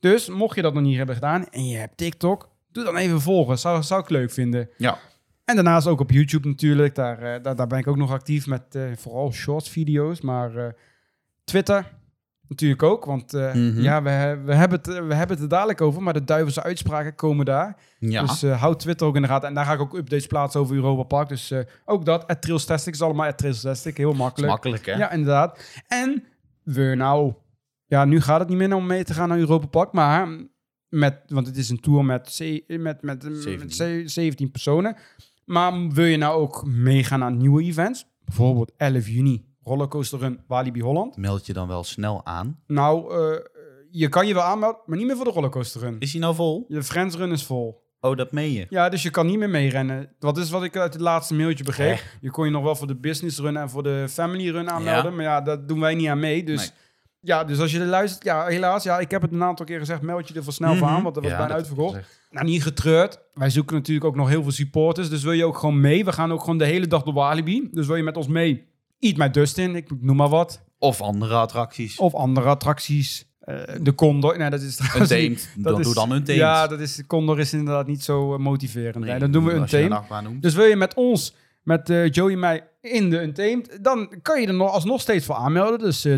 A: Dus mocht je dat nog niet hebben gedaan en je hebt TikTok, doe dan even volgen. Zou, zou ik leuk vinden.
B: Ja.
A: En daarnaast ook op YouTube natuurlijk. Daar, eh, daar, daar ben ik ook nog actief met eh, vooral short video's. Maar eh, Twitter, natuurlijk ook. Want eh,
B: Mhm.
A: ja, we, he- we, hebben het, eh, we hebben het er dadelijk over, maar de duivelse uitspraken komen daar.
B: Ja.
A: Dus eh, houd Twitter ook in de gaten. En daar ga ik ook updates plaatsen over Europa Park. Dus eh, ook dat, at Trailstastic is allemaal at Trailstastic. Heel
B: is
A: makkelijk.
B: makkelijk, hè?
A: Ja, inderdaad. En we nou... Ja, nu gaat het niet meer om mee te gaan naar Europa Park, maar... Met, want het is een tour met, ze- met, met, met
B: 17.
A: ze- 17 personen. Maar wil je nou ook meegaan naar nieuwe events? Bijvoorbeeld 11 juni, Rollercoaster Run, Walibi Holland.
B: Meld je dan wel snel aan.
A: Nou, eh, je kan je wel aanmelden, maar niet meer voor de Rollercoaster Run.
B: Is hij nou vol?
A: Je Friends Run is vol.
B: Oh, dat meen je.
A: Ja, dus je kan niet meer meerennen. Wat is wat ik uit het laatste mailtje begreep. Je kon je nog wel voor de business run en voor de family run aanmelden. Maar ja, dat doen wij niet aan mee. Dus,
B: Nee.
A: ja, dus als je er luistert, ja, helaas. Ja, ik heb het een aantal keer gezegd, meld je er voor snel voor
B: Mhm.
A: aan. Want er was
B: Ja,
A: bijna
B: dat-
A: uitverkocht.
B: dat is echt-
A: Nou, niet getreurd. Wij zoeken natuurlijk ook nog heel veel supporters. Dus wil je ook gewoon mee? We gaan ook gewoon de hele dag door Walibi. Dus wil je met ons mee? Eat my Dustin, ik noem maar wat.
B: Of andere attracties.
A: Of andere attracties. Eh, de Condor. Nou, dat is
B: een
A: trouwens niet- [laughs] dat
B: teemt. Dan
A: is-
B: doe dan een teemt.
A: Ja, dat is, Condor is inderdaad niet zo eh, motiverend.
B: Nee,
A: Nee, dan doen we
B: als
A: een
B: je nou-
A: team.
B: achtbaan noemt.
A: Dus wil je met ons, met eh, Joey en mij in de Untamed, dan kan je er nog alsnog steeds voor aanmelden. Dus eh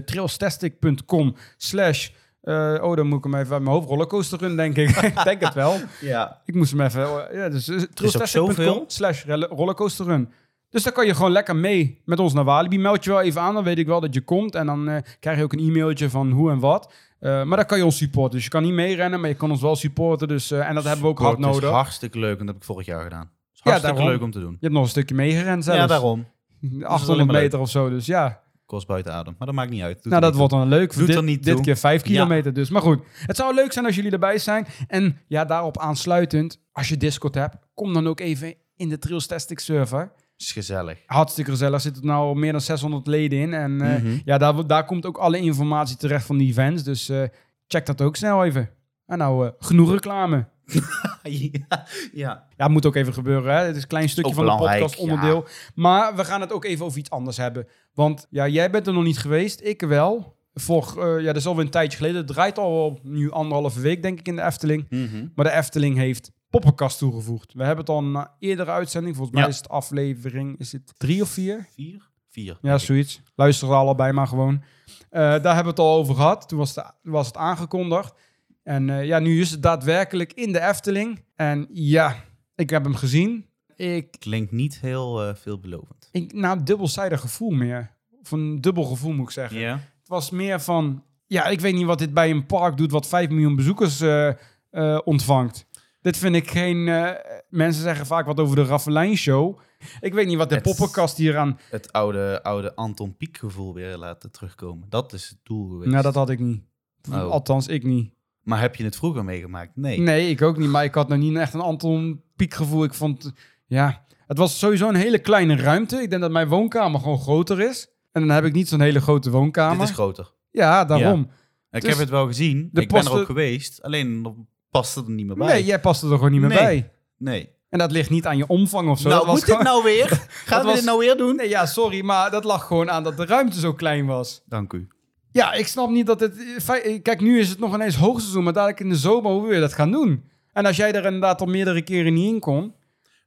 A: trailstastic.com slash... eh, oh, dan moet ik hem even uit mijn hoofd rollercoaster run, denk ik. [laughs] ik denk het wel.
B: Ja.
A: Ik moest hem even... eh, ja, dus eh, trailstastic.com
B: zoveel.
A: slash relle- rollercoaster run. Dus dan kan je gewoon lekker mee met ons naar Walibi. Meld je wel even aan, dan weet ik wel dat je komt. En dan eh, krijg je ook een e-mailtje van hoe en wat. Eh, maar dan kan je ons supporten. Dus je kan niet meerennen, maar je kan ons wel supporten. Dus, eh, en dat hebben we ook hard
B: Sport is
A: nodig.
B: hartstikke leuk. En dat heb ik vorig jaar gedaan. Is
A: Ja,
B: hartstikke
A: daarom.
B: leuk om te doen.
A: Je hebt nog een stukje meegerend zelfs. [laughs]
B: Ja, daarom.
A: 800
B: maar leuk.
A: meter of zo. Dus ja,
B: Kost buiten adem. Maar dat maakt niet uit. Doet
A: nou
B: er
A: dat
B: niet
A: wordt dan leuk.
B: Doet
A: dit,
B: er niet
A: dit
B: toe.
A: keer 5
B: Ja.
A: kilometer dus. Maar goed, het zou leuk zijn als jullie erbij zijn. En ja, daarop aansluitend, als je Discord hebt, kom dan ook even in de Trails Tastic server.
B: toe. Is gezellig.
A: Hartstikke gezellig. Er zitten nou meer dan 600 leden in. En eh,
B: Mhm.
A: ja, daar, daar komt ook alle informatie terecht van die events. Dus eh, check dat ook snel even. En nou, eh, genoeg reclame.
B: ja. ja.
A: [laughs] Ja, moet ook even gebeuren. Hè? Het is een klein stukje
B: Ook
A: van de
B: belangrijk,
A: podcast onderdeel. Maar we gaan het ook even over iets anders hebben. Want ja, jij bent er nog niet geweest, ik wel. Voor, eh, ja, dat is alweer een tijdje geleden. Het draait al wel nu anderhalve week, denk ik, in de Efteling.
B: Mhm.
A: Maar de Efteling heeft poppenkast toegevoegd. We hebben het al in een eerdere uitzending. Volgens mij
B: Ja.
A: is het aflevering, is het drie of vier?
B: Vier? Vier.
A: Ja, zoiets. Luister ze allebei maar gewoon. Eh, daar hebben we het al over gehad. Toen was, de, was het aangekondigd. En eh, ja, nu is het daadwerkelijk in de Efteling. En ja, ik heb hem gezien. Ik,
B: Klinkt niet heel eh, veelbelovend.
A: ik nou, dubbelzijdig gevoel meer. Of een dubbel gevoel moet ik zeggen.
B: Ja.
A: Het was meer van, ja, ik weet niet wat dit bij een park doet wat 5 miljoen bezoekers eh, eh, ontvangt. Dit vind ik geen... eh, mensen zeggen vaak wat over de Raffelijn show. Ik weet niet wat de
B: Het-
A: poppenkast hier aan...
B: Het oude, oude Anton Pieck gevoel weer laten terugkomen. Dat is het doel geweest.
A: Nou, dat had ik niet.
B: Oh.
A: Althans, ik niet.
B: Maar heb je het vroeger meegemaakt? Nee.
A: Nee, ik ook niet. Maar ik had nog niet echt een Anton Pieck gevoel. Ik vond, ja, het was sowieso een hele kleine ruimte. Ik denk dat mijn woonkamer gewoon groter is. En dan heb ik niet zo'n hele grote woonkamer.
B: Dit is groter.
A: ja, daarom.
B: Ik
A: Dus
B: heb het wel gezien.
A: de
B: Ik ben er
A: posten-
B: ook geweest. Alleen dan past het er niet meer bij.
A: nee, jij paste er gewoon niet meer
B: Nee.
A: bij.
B: Nee.
A: En dat ligt niet aan je omvang of zo.
B: nou,
A: Dat was
B: moet dit
A: gewoon-
B: nou
A: [laughs]
B: weer? Gaan we
A: was-
B: dit nou weer doen?
A: Nee, ja, sorry, maar dat lag gewoon aan dat de ruimte zo klein was.
B: Dank u.
A: Ja, ik snap niet dat het... eh, fei- eh, Kijk, nu is het nog ineens hoogseizoen, maar dadelijk in de zomer, hoe wil je dat gaan doen? En als jij er inderdaad al meerdere keren niet in kon...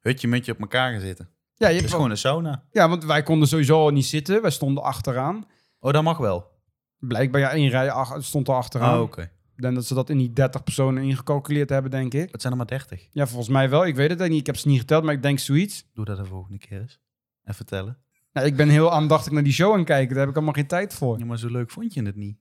B: Hutje mutje op elkaar gaan zitten.
A: Ja, je
B: Het
A: hebt
B: is
A: wel-
B: gewoon een sauna.
A: ja, want wij konden sowieso al niet zitten. Wij stonden achteraan.
B: Oh, dat mag wel.
A: Blijkbaar ja, één rij ach- stond er achteraan.
B: Oh,
A: Ik
B: oké.
A: denk dat ze dat in die 30 personen ingecalculeerd hebben, denk ik.
B: Het zijn er maar 30.
A: Ja, volgens mij wel. Ik weet het niet. Ik heb ze niet geteld, maar ik denk zoiets.
B: Doe dat de volgende keer eens. En vertellen.
A: Nou, ik ben heel aandachtig naar die show aan het kijken. Daar heb ik allemaal geen tijd voor.
B: Ja, maar zo leuk vond je het niet.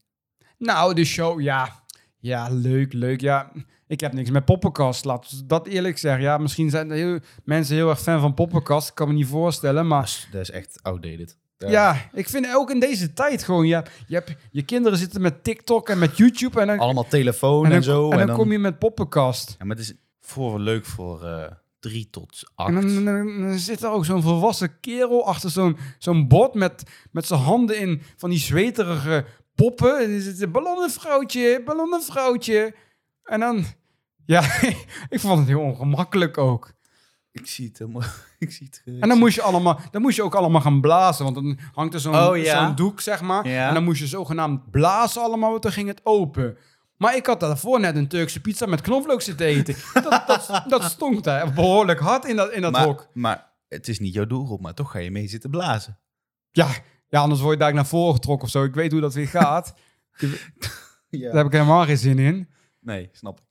A: Nou, de show, ja. Ja, leuk, leuk. Ja, ik heb niks met poppenkast. Laat ons dat eerlijk zeggen. Ja, misschien zijn er heel, mensen heel erg fan van poppenkast. Ik kan me niet voorstellen, maar...
B: Dat is echt outdated.
A: Ja. ik vind ook in deze tijd gewoon... Ja, je, hebt, je kinderen zitten met TikTok en met YouTube en dan,
B: Allemaal telefoon en,
A: dan-
B: zo.
A: en dan kom je met poppenkast.
B: Ja, maar het is voor, leuk voor eh drie tot
A: En
B: acht.
A: dan, dan- dan- dan zit er ook zo'n volwassen kerel achter zo'n zo'n bord met, met zijn handen in van die zweterige poppen. En dan zit een ballonnenvrouwtje, ballonnenvrouwtje. En dan, [laughs] ja, ik vond het heel ongemakkelijk ook.
B: Ik zie het helemaal. [laughs] Ik zie het. eh, ik
A: En dan
B: zie-
A: moest je, allemaal, dan moest je ook allemaal gaan blazen, want dan hangt er zo'n
B: Oh, ja.
A: zo'n doek, zeg maar.
B: Ja.
A: En dan moest je zogenaamd blazen allemaal, want dan ging het open. Maar ik had daarvoor net een Turkse pizza met knoflook zitten eten. Dat, dat, dat stonk daar behoorlijk hard in dat, in dat hok.
B: maar, maar het is niet jouw doelgroep, maar toch ga je mee zitten blazen. [laughs]
A: Ja, ja, anders word je daar naar voren getrokken of zo. Ik weet hoe dat weer gaat.
B: Ja.
A: Daar heb ik helemaal geen zin in.
B: Nee, snap ik.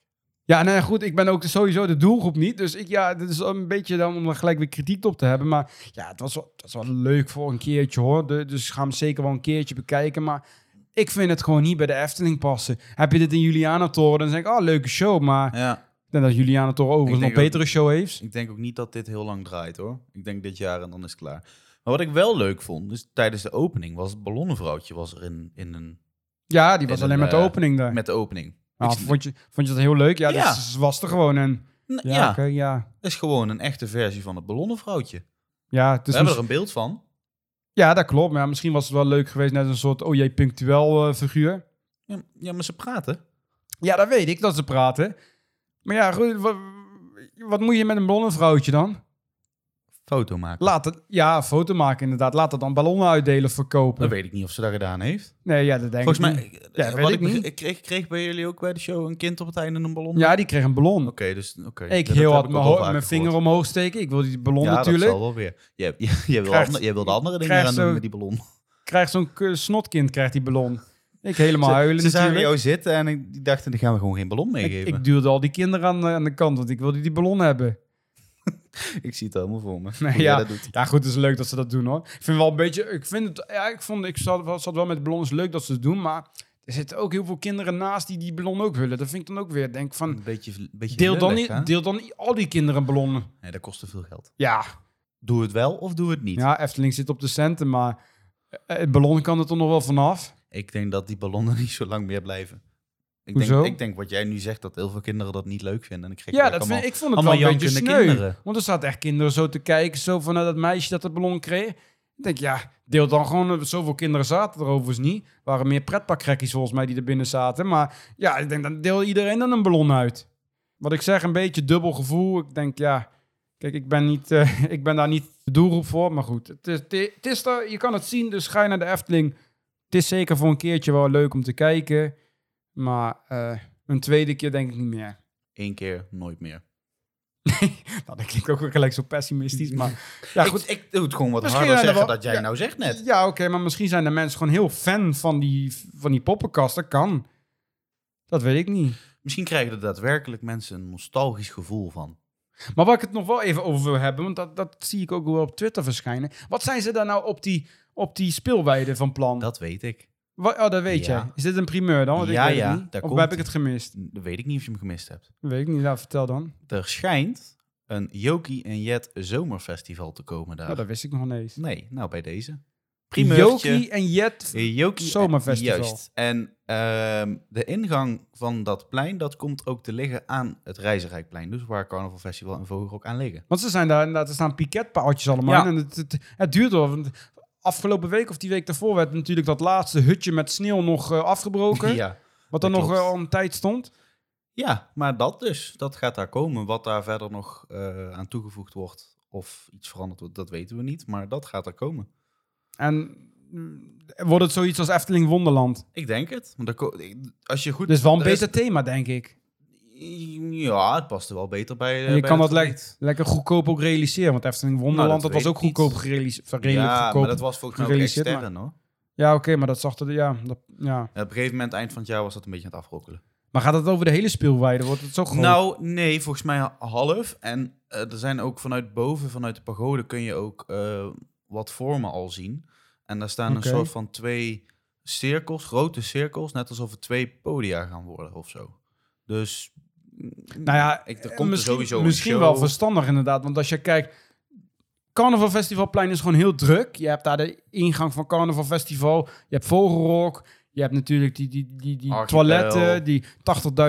A: Ja, nee, goed, ik ben ook sowieso de doelgroep niet. Dus ik, ja, dit is een beetje dan om er gelijk weer kritiek op te hebben. Maar ja, het was wel, het was wel leuk voor een keertje hoor. De- dus ik ga hem zeker wel een keertje bekijken. Maar ik vind het gewoon niet bij de Efteling passen. Heb je dit in Julianatoren, dan zeg ik, oh, leuke show. Maar ik
B: Ja,
A: denk dat Julianatoren overigens
B: Ik
A: nog
B: denk
A: een betere show heeft.
B: ik denk ook niet dat dit heel lang draait hoor. Ik denk dit jaar en dan is het klaar. Maar wat ik wel leuk vond, dus tijdens de opening was het ballonnenvrouwtje was er in, in een,
A: Ja, die was
B: En
A: alleen
B: een,
A: met de
B: eh,
A: opening daar.
B: met de opening.
A: Nou,
B: Ik-
A: vond, je, vond je dat heel leuk? Ja,
B: Ja.
A: dat is- was er gewoon. En,
B: N-
A: ja,
B: ja,
A: oké, Dus ja.
B: dat is gewoon een echte versie van het ballonnenvrouwtje.
A: Ja, het
B: We
A: is
B: hebben
A: mis-
B: er een beeld van.
A: ja, dat klopt. Maar ja, misschien was het wel leuk geweest, net een soort oh jee, punctueel eh, figuur.
B: Ja, ja, maar ze praten.
A: Ja, dat weet ik, dat ze praten. Maar ja, goed, wat, wat moet je met een ballonvrouwtje dan?
B: Foto maken.
A: Laat het, ja, foto maken inderdaad. Laat het dan ballonnen uitdelen,
B: Dan
A: verkopen.
B: weet ik niet of ze dat gedaan heeft.
A: Nee, ja, dat denk
B: Volgens
A: ik
B: mij,
A: niet.
B: eh,
A: Ja, weet
B: wat
A: ik
B: ik,
A: niet.
B: begre- kreeg, kreeg bij jullie ook bij de show een kind op het einde een ballon.
A: Ja, die kreeg een ballon.
B: Oké, dus oké.
A: Ik
B: Ja, dat
A: heel
B: heb
A: hard
B: ik
A: mijn,
B: ook al
A: ho-
B: vaker
A: mijn vinger
B: gehoord.
A: omhoog steken. Ik wil die ballon
B: ja,
A: natuurlijk.
B: dat zal wel weer. Jij, [laughs] jij, wil,
A: Krijgt-
B: ander- jij wil de andere dingen
A: krijgt
B: aan doen
A: zo-
B: met die ballon.
A: Krijgt zo'n k- snotkind krijgt die ballon. Ik helemaal
B: Ze,
A: huilen
B: ze zagen
A: natuurlijk.
B: jou zitten en ik die dachten, die gaan we gewoon geen ballon
A: Ik,
B: meegeven.
A: ik
B: Ik,
A: duwde al die kinderen aan, de- aan de kant, want ik wilde die ballon hebben.
B: zie het helemaal voor me.
A: [laughs] Nee,
B: Hoe jij
A: ja.
B: dat doet.
A: Ja, goed, het is leuk dat ze dat doen hoor. Ik vind wel een beetje. Ik vind het. Ja, ik vond. Ik zat, wel- zat wel met ballonnen. is leuk dat ze het doen. Maar er zitten ook heel veel kinderen naast die die ballon ook willen. Dat vind ik dan ook weer. Denk van.
B: Een beetje, beetje
A: Deel dan,
B: lullig, hè?
A: niet, deel dan niet al die kinderen ballonnen.
B: Nee, dat kost te veel geld.
A: Ja.
B: Doe het wel of doe het niet.
A: Ja, Efteling zit op de centen. Maar. eh, Het ballon kan er toch nog wel vanaf.
B: Ik denk dat die ballonnen [laughs] niet zo lang meer blijven. Ik
A: Hoezo?
B: Denk, ik denk wat jij nu zegt, dat heel veel kinderen dat niet leuk vinden. En ik krijg
A: Ja,
B: ook
A: dat
B: allemaal-
A: vind, ik vond het wel
B: allemaal
A: een beetje
B: jankende
A: sneu.
B: kinderen.
A: Want er zaten echt kinderen zo te kijken. Zo van naar dat meisje dat het ballon kreeg. Ik denk ja. Deel dan gewoon, eh, zoveel kinderen zaten er overigens niet. Er waren meer pretparkrekkies volgens mij die er binnen zaten. Maar ja, ik denk dan deel iedereen dan een ballon uit. Wat ik zeg, een beetje dubbel gevoel. Ik denk ja, kijk, ik ben, niet, eh, [laughs] ik ben daar niet de doelgroep voor. Maar goed, het is, het is er, je kan het zien, dus ga je naar de Efteling. Het is zeker voor een keertje wel leuk om te kijken. Maar eh, een tweede keer denk ik niet meer.
B: Eén keer, nooit meer.
A: Nou, dat klinkt ook weer gelijk zo pessimistisch. [laughs] Maar ja,
B: ik,
A: goed.
B: ik doe het gewoon wat
A: Misschien
B: harder
A: zijn er
B: zeggen
A: wel-
B: dat jij
A: ja.
B: nou zegt net.
A: Ja, oké, maar misschien zijn de mensen gewoon heel fan van die, van die poppenkast. Dat kan. Dat weet ik niet.
B: Misschien krijgen er daadwerkelijk mensen een nostalgisch gevoel van.
A: Maar waar ik het nog wel even over wil hebben, want dat, dat zie ik ook wel op Twitter verschijnen. Wat zijn ze daar nou op die, op die speelweide van plan?
B: Dat weet ik.
A: Wa- oh, dat weet
B: Ja.
A: jij. Is dit een primeur dan? Want ik
B: Ja,
A: weet het
B: ja,
A: niet.
B: daar
A: Of
B: komt
A: heb ik
B: ie.
A: het gemist?
B: Dat weet ik niet of je hem gemist hebt.
A: Dat weet ik niet. Nou, vertel dan.
B: Er schijnt een Joki en Jet zomerfestival te komen daar.
A: Nou, dat wist ik nog niet eens.
B: Nee, nou bij deze.
A: Jokie en Jet.
B: Eh, Jokie
A: Zomerfestival.
B: Juist. En ehm, de ingang van dat plein, dat komt ook te liggen aan het Reizenrijkplein. Dus waar Carnaval Festival en Vogel ook aan liggen.
A: Want ze zijn daar inderdaad, er staan piketpaaltjes allemaal.
B: Ja.
A: in En het, het, het duurt wel. Want afgelopen week of die week daarvoor werd natuurlijk dat laatste hutje met sneeuw nog eh, afgebroken.
B: Ja.
A: wat dan
B: dat
A: nog
B: klopt.
A: eh, al een tijd stond.
B: ja, maar dat dus. Dat gaat daar komen. Wat daar verder nog eh, aan toegevoegd wordt of iets veranderd wordt, dat weten we niet. Maar dat gaat daar komen.
A: En mm, wordt het zoiets als Efteling Wonderland?
B: Ik denk het. Want daar ko- als je goed...
A: Dus wel een
B: er is-
A: beter thema, denk ik.
B: Ja, het past er wel beter bij. eh,
A: En je
B: bij
A: kan
B: het
A: dat le-
B: gebied.
A: lekker goedkoop ook realiseren. Want Efteling Wonderland, dat, was
B: Nou, dat weet
A: ook
B: ik niet.
A: goedkoop gerealiseerd. Redelijk
B: Ja,
A: goedkoop.
B: maar dat was volgens mij ook
A: gerealiseerd, maar-
B: extern hoor.
A: Ja, oké, maar dat zag er... Ja, dat, ja.
B: En op een gegeven moment, eind van het jaar, was dat een beetje aan het afrokkelen.
A: Maar gaat het over de hele speelweide? Wordt het zo groot?
B: Nou, nee, volgens mij ha- half. En eh, er zijn ook vanuit boven, vanuit de pagode, kun je ook eh, wat vormen al zien. En daar
A: Oké.
B: staan een soort van twee cirkels, grote cirkels, net alsof het twee podia gaan worden of zo. Dus,
A: Nou ja,
B: ik, er
A: eh,
B: komt er
A: misschien,
B: sowieso een
A: misschien
B: show.
A: wel verstandig inderdaad. Want als je kijkt, Carnaval Festivalplein is gewoon heel druk. Je hebt daar de ingang van Carnaval Festival. Je hebt Vogelrok. Je hebt natuurlijk die, die, die, die
B: Archipel.
A: toiletten, die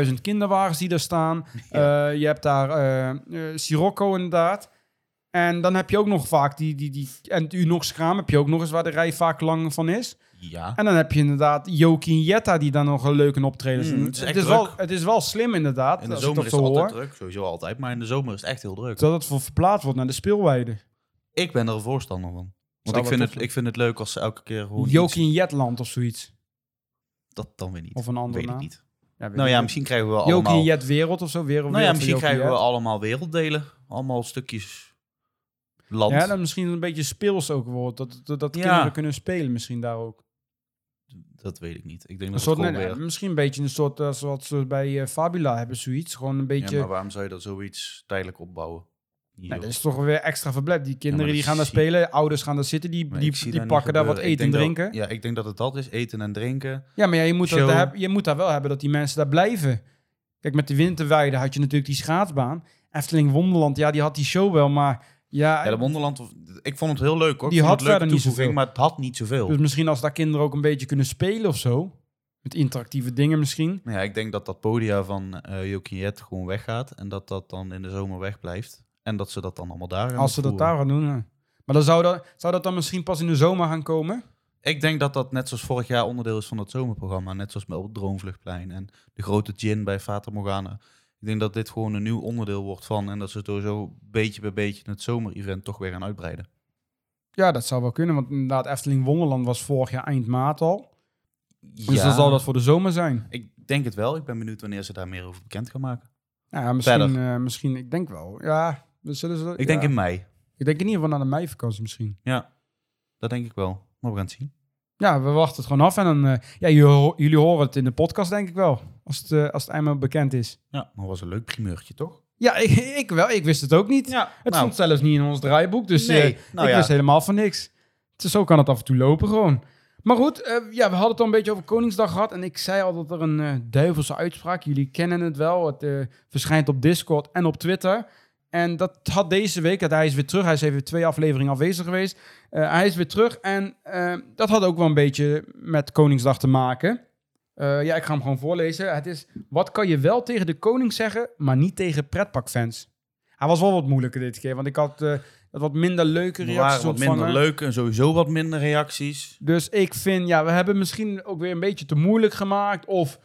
A: 80.000 kinderwagens die daar
B: [laughs]
A: staan. Eh, je hebt daar eh, eh, Sirocco inderdaad. En dan heb je ook nog vaak die, die, die en het Unox-kraam heb je ook nog eens waar de rij vaak lang van is.
B: Ja,
A: En dan heb je inderdaad Jokie en Jetta die dan nog een leuke optreden
B: Mm,
A: doen.
B: het is echt
A: het, is
B: druk.
A: wel, het is wel slim inderdaad,
B: in de
A: als ik
B: zomer
A: dat
B: is
A: zo
B: het altijd
A: hoor.
B: druk, sowieso altijd. Maar in de zomer is het echt heel druk.
A: Dat het voor verplaatst wordt naar de speelweide.
B: Ik ben er een voorstander van. Want
A: Zou
B: ik vind,
A: wel
B: het,
A: tof
B: ik vind het leuk als ze elke keer gewoon
A: Jokie
B: iets-
A: in Jetland of zoiets.
B: Dat dan weer niet.
A: Of een andere
B: Weet ik
A: naam.
B: niet.
A: Ja, weet
B: Nou
A: ik
B: ja,
A: niet.
B: misschien krijgen we wel
A: Jokie
B: allemaal...
A: in Jet Wereld of zo. Wereld,
B: Nou ja,
A: wereld
B: misschien
A: van Jokie
B: krijgen we
A: Jet.
B: allemaal werelddelen. Allemaal stukjes land.
A: Ja, dan misschien een beetje speels ook wordt. Dat, dat, dat
B: Ja.
A: kinderen kunnen spelen misschien daar ook.
B: dat weet ik niet. Ik denk
A: Een
B: dat
A: soort,
B: het
A: net-
B: gewoon weer...
A: misschien een beetje een soort eh, zoals ze bij eh, Fabula hebben, zoiets. Gewoon een beetje...
B: Ja, maar waarom zou je dat zoiets tijdelijk opbouwen? Niet,
A: Nou,
B: joh.
A: dat is toch weer extra verblijf. Die kinderen
B: dat
A: die gaan daar
B: zie-
A: spelen, ouders gaan daar zitten, die,
B: Maar
A: die,
B: ik zie
A: die
B: niet
A: pakken daar wat
B: gebeuren. Ik
A: eten en
B: denk
A: drinken.
B: dat- ja, ik denk dat het dat is. Eten en drinken.
A: Ja, maar ja, je, moet dat,
B: Chill.
A: heb- je moet daar wel hebben dat die mensen daar blijven. Kijk, met de winterweide had je natuurlijk die schaatsbaan. Efteling Wonderland, ja, die had die show wel, maar ja,
B: Ja, de Wonderland, ik vond het heel leuk hoor.
A: Die
B: ik
A: had
B: vond het leuke
A: verder niet
B: toevoeging,
A: zoveel.
B: maar het had niet zoveel.
A: dus misschien als daar kinderen ook een beetje kunnen spelen of zo. Met interactieve dingen misschien.
B: Nou ja, ik denk dat dat podia van eh Jokiet gewoon weggaat en dat dat dan in de zomer wegblijft. En dat ze dat dan allemaal daar gaan
A: als ze dat daar
B: opvoeren.
A: gaan doen. ja. Maar dan zou, dat, zou dat dan misschien pas in de zomer gaan komen?
B: Ik denk dat dat net zoals vorig jaar onderdeel is van het zomerprogramma. Net zoals met op het Droomvluchtplein en de grote gin bij Fata Morgana. Ik denk dat dit gewoon een nieuw onderdeel wordt van. En dat ze door zo beetje bij beetje het zomerevent toch weer gaan uitbreiden.
A: Ja, dat zou wel kunnen, want inderdaad, Efteling Wonderland was vorig jaar eind maart al. Dus dan zal dat voor de zomer zijn.
B: Ik denk het wel. Ik ben benieuwd wanneer ze daar meer over bekend gaan maken.
A: Nou Ja, misschien,
B: Verder.
A: eh, misschien, ik denk wel. Ja, we zullen ze,
B: Ik denk
A: ja.
B: in mei.
A: ik denk in ieder geval naar de meivakantie misschien.
B: Ja, dat denk ik wel. Maar we gaan het zien.
A: Ja, we wachten het gewoon af. En dan, eh, ja, jullie, ho- jullie horen het in de podcast, denk ik wel. Als het, eh, als het eenmaal bekend is.
B: Ja, maar was een leuk primeurtje, toch?
A: Ja, ik, [laughs] ik wel. Ik wist het ook niet.
B: Ja,
A: het
B: nou.
A: stond zelfs niet in ons draaiboek. Dus
B: Nee,
A: eh,
B: nou
A: ik
B: ja.
A: wist helemaal van niks. Dus zo kan het af en toe lopen gewoon. Maar goed, eh, ja, we hadden het al een beetje over Koningsdag gehad. En ik zei al dat er een eh, duivelse uitspraak. Jullie kennen het wel. Het eh, verschijnt op Discord en op Twitter. En dat had deze week, dat hij is weer terug. Hij is even twee afleveringen afwezig geweest. Eh, hij is weer terug. En eh, dat had ook wel een beetje met Koningsdag te maken. Eh, ja, ik ga hem gewoon voorlezen. Het is, wat kan je wel tegen de koning zeggen, maar niet tegen pretparkfans? Hij was wel wat moeilijker dit keer, want ik had eh, wat minder leuke
B: Er
A: reacties
B: waren wat
A: ontvangen.
B: minder leuk en sowieso wat minder reacties.
A: Dus ik vind, ja, we hebben misschien ook weer een beetje te moeilijk gemaakt. Of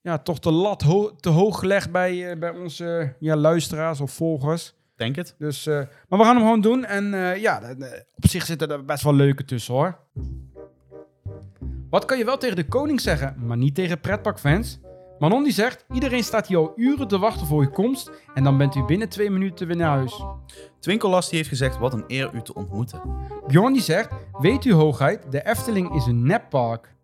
A: ja, toch de lat ho- te hoog gelegd bij, eh, bij onze eh, ja, luisteraars of volgers.
B: Denk het.
A: Dus, eh, maar we gaan hem gewoon doen. En eh, ja, de- de- op zich zitten er best wel leuke tussen hoor. Wat kan je wel tegen de koning zeggen, maar niet tegen pretparkfans? Manon die zegt, iedereen staat hier al uren te wachten voor je komst. En dan bent u binnen twee minuten weer naar huis.
B: Twinkelast die heeft gezegd, wat een eer u te ontmoeten.
A: Bjorn die zegt, weet u hoogheid, de Efteling is een neppark.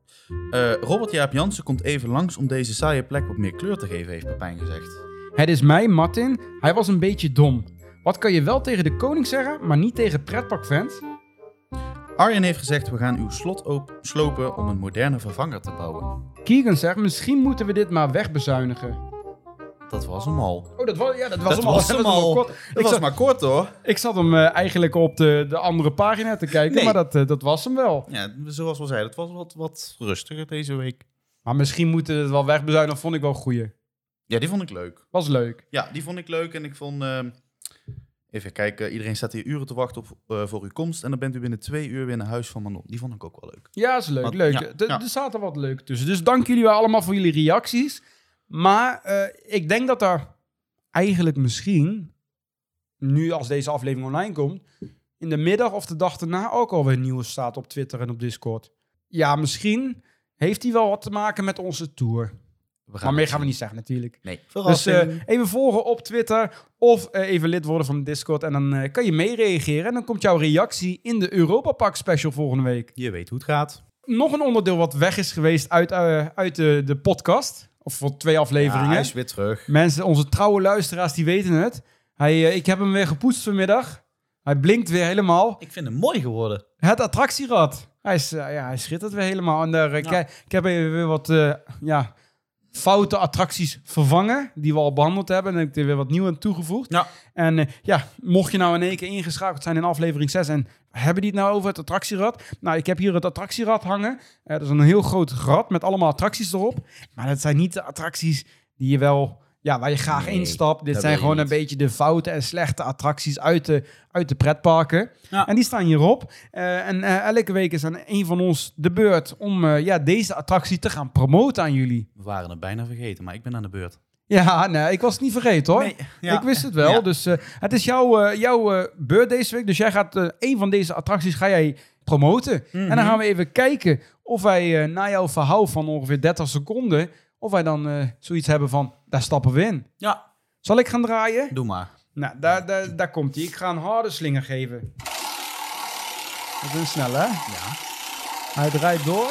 B: Eh, Robert Jaap Jansen komt even langs om deze saaie plek wat meer kleur te geven, heeft Pepijn gezegd.
A: Het is mij, Martin. Hij was een beetje dom. Wat kan je wel tegen de koning zeggen, maar niet tegen pretparkfans?
B: Arjen heeft gezegd, we gaan uw slot op slopen om een moderne vervanger te bouwen.
A: Keegan zegt, misschien moeten we dit maar wegbezuinigen.
B: Dat was hem al.
A: Oh, dat was, ja, [laughs] dat was
B: Dat
A: hem al.
B: was hem
A: was
B: al.
A: kort.
B: Dat
A: Ik,
B: was
A: zat,
B: maar kort hoor.
A: ik zat hem eh, eigenlijk op de, de andere pagina te kijken,
B: Nee.
A: maar dat, eh, dat was hem wel.
B: Ja, zoals we al zeiden, het was wat, wat rustiger deze week.
A: Maar misschien moeten we het wel wegbezuinigen, vond ik wel een goeie.
B: Ja, die vond ik leuk.
A: Was leuk.
B: Ja, die vond ik leuk. En ik vond. ehm, even kijken, iedereen staat hier uren te wachten op, eh, voor uw komst. En dan bent u binnen twee uur weer naar huis van Manon. Die vond ik ook wel leuk.
A: Ja, is leuk.
B: Maar-
A: leuk.
B: ja,
A: Er-
B: ja.
A: Er zaten wat leuk tussen. Dus dank jullie wel allemaal voor jullie reacties. Maar eh, ik denk dat er eigenlijk misschien, nu als deze aflevering online komt, in de middag of de dag daarna ook alweer nieuws staat op Twitter en op Discord. Ja, misschien heeft die wel wat te maken met onze tour.
B: We gaan
A: Maar meer gaan we niet zeggen natuurlijk.
B: Nee,
A: Dus eh,
B: verrassing.
A: even volgen op Twitter of eh, even lid worden van Discord. En dan eh, kan je meereageren. En dan komt jouw reactie in de Europa Park special volgende week
B: je weet hoe het gaat.
A: nog een onderdeel wat weg is geweest uit, eh, uit de, de podcast. Of voor twee
B: Ja,
A: afleveringen.
B: hij is weer terug.
A: Mensen, onze trouwe luisteraars, die weten het. Hij, eh, ik heb hem weer gepoetst vanmiddag. Hij blinkt weer helemaal.
B: Ik vind hem mooi geworden.
A: Het attractierad. Hij, is, eh, ja, hij schittert weer helemaal. En daar, eh,
B: Ja.
A: kijk, ik heb even weer wat eh, ja, foute attracties vervangen. Die we al behandeld hebben. En heb ik er weer wat nieuw aan toegevoegd.
B: Ja.
A: En eh, ja, mocht je nou in één keer ingeschakeld zijn in aflevering 6 en hebben die het nou over het attractierad? Nou, ik heb hier het attractierad hangen. Eh, dat is een heel groot rad met allemaal attracties erop. Maar dat zijn niet de attracties die je wel, ja, waar je graag
B: Nee,
A: instapt. Dit
B: dat
A: zijn
B: wil je
A: gewoon een
B: niet.
A: beetje de foute en slechte attracties uit de, uit de pretparken.
B: Ja.
A: En die staan hierop. Eh, en eh, elke week is aan een van ons de beurt om eh, ja, deze attractie te gaan promoten aan jullie.
B: We waren het bijna vergeten, maar ik ben aan de beurt.
A: Ja, nee, ik was het niet vergeten hoor.
B: ja.
A: Ik wist het wel.
B: Ja.
A: Dus eh, het is jouw, eh, jouw eh, beurt deze week. Dus jij gaat eh een van deze attracties ga jij promoten. En
B: Mhm.
A: dan gaan we even kijken of wij eh, na jouw verhaal van ongeveer 30 seconden, of wij dan eh, zoiets hebben van, daar stappen we in.
B: Ja,
A: Zal ik gaan draaien?
B: doe maar.
A: Nou, daar, daar, daar komt hij. Ik ga een harde slinger geven. Dat is een snel, hè?
B: Ja.
A: Hij draait door.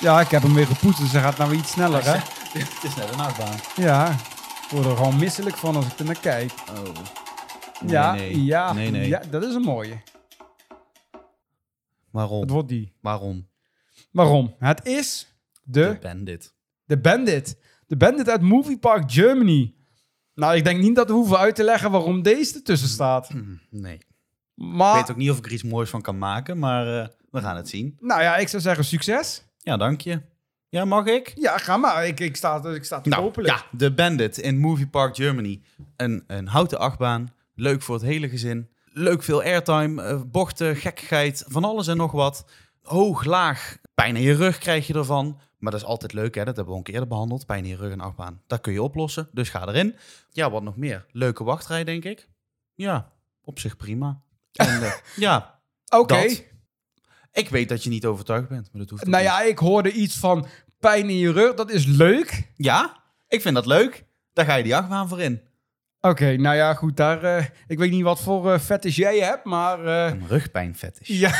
A: Ja, ik heb hem weer gepoetst, dus hij gaat nou weer iets sneller, hè?
B: Het is net een achtbaan.
A: Ja, ik word er gewoon misselijk van als ik er naar kijk.
B: Oh.
A: ja,
B: Nee, nee.
A: Ja,
B: Nee, nee.
A: ja, dat is een mooie. Het
B: Waarom?
A: wordt die.
B: Waarom?
A: Waarom? Het is de,
B: De Bandit.
A: de Bandit. De Bandit uit Movie Park Germany. Nou, ik denk niet dat we hoeven uit te leggen waarom deze ertussen staat.
B: Mm, Nee. Ik
A: Maar,
B: Hm. weet ook niet of ik er iets moois van kan maken, maar eh, we gaan het zien.
A: nou ja, ik zou zeggen succes.
B: Ja, dank je. Ja, mag ik?
A: Ja, ga maar. Ik, ik sta, ik sta te
B: Nou,
A: popelen.
B: ja, de Bandit in Movie Park Germany. Een, een houten achtbaan, leuk voor het hele gezin. Leuk veel airtime, eh, bochten, gekkigheid, van alles en nog wat. Hoog, laag, pijn in je rug krijg je ervan. Maar dat is altijd leuk, hè? dat hebben we al een keer eerder behandeld. Pijn in je rug en achtbaan, dat kun je oplossen, dus ga erin. Ja, wat nog meer? Leuke wachtrij, denk ik. Ja, op zich prima.
A: [laughs]
B: En, eh, ja,
A: Oké.
B: dat. Ik weet dat je niet overtuigd bent, maar dat hoeft ook
A: Nou
B: niet.
A: ja, ik hoorde iets van pijn in je rug. Dat is leuk.
B: Ja, ik vind dat leuk. Daar ga je die achtbaan voor in.
A: Oké, nou ja, goed. Daar, eh, ik weet niet wat voor eh fetish jij hebt, maar... eh,
B: Een rugpijnvet is.
A: ja,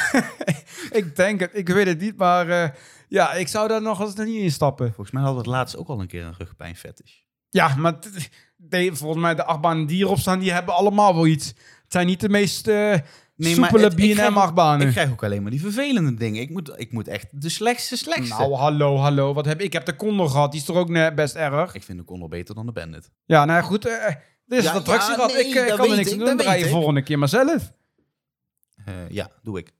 A: [laughs] ik denk het. Ik weet het niet, maar... eh, ja, ik zou daar nog eens nog niet in stappen.
B: Volgens mij hadden we het laatst ook al een keer een rugpijnfetish.
A: Ja, maar t- de, volgens mij de achtbanen die erop staan, die hebben allemaal wel iets. Het zijn niet de meest eh
B: maar
A: soepele
B: het- ik krijg- Ik
A: B&M-achtbanen.
B: krijg ook alleen maar die vervelende dingen. Ik moet, ik moet echt de slechtste, slechtste.
A: Nou, hallo, hallo. Wat heb ik? Ik heb de Condor gehad. Die is toch ook net best erg?
B: Ik vind de Condor beter dan de Bandit.
A: Ja, nou ja, goed. eh, eh, dit is
B: Ja,
A: een attractie
B: ja,
A: gehad.
B: nee,
A: ik eh,
B: dat
A: kan er
B: weet
A: niks aan
B: ik,
A: doen.
B: dat
A: Dan rij
B: weet
A: je
B: ik.
A: volgende keer maar zelf.
B: Eh, ja, doe ik.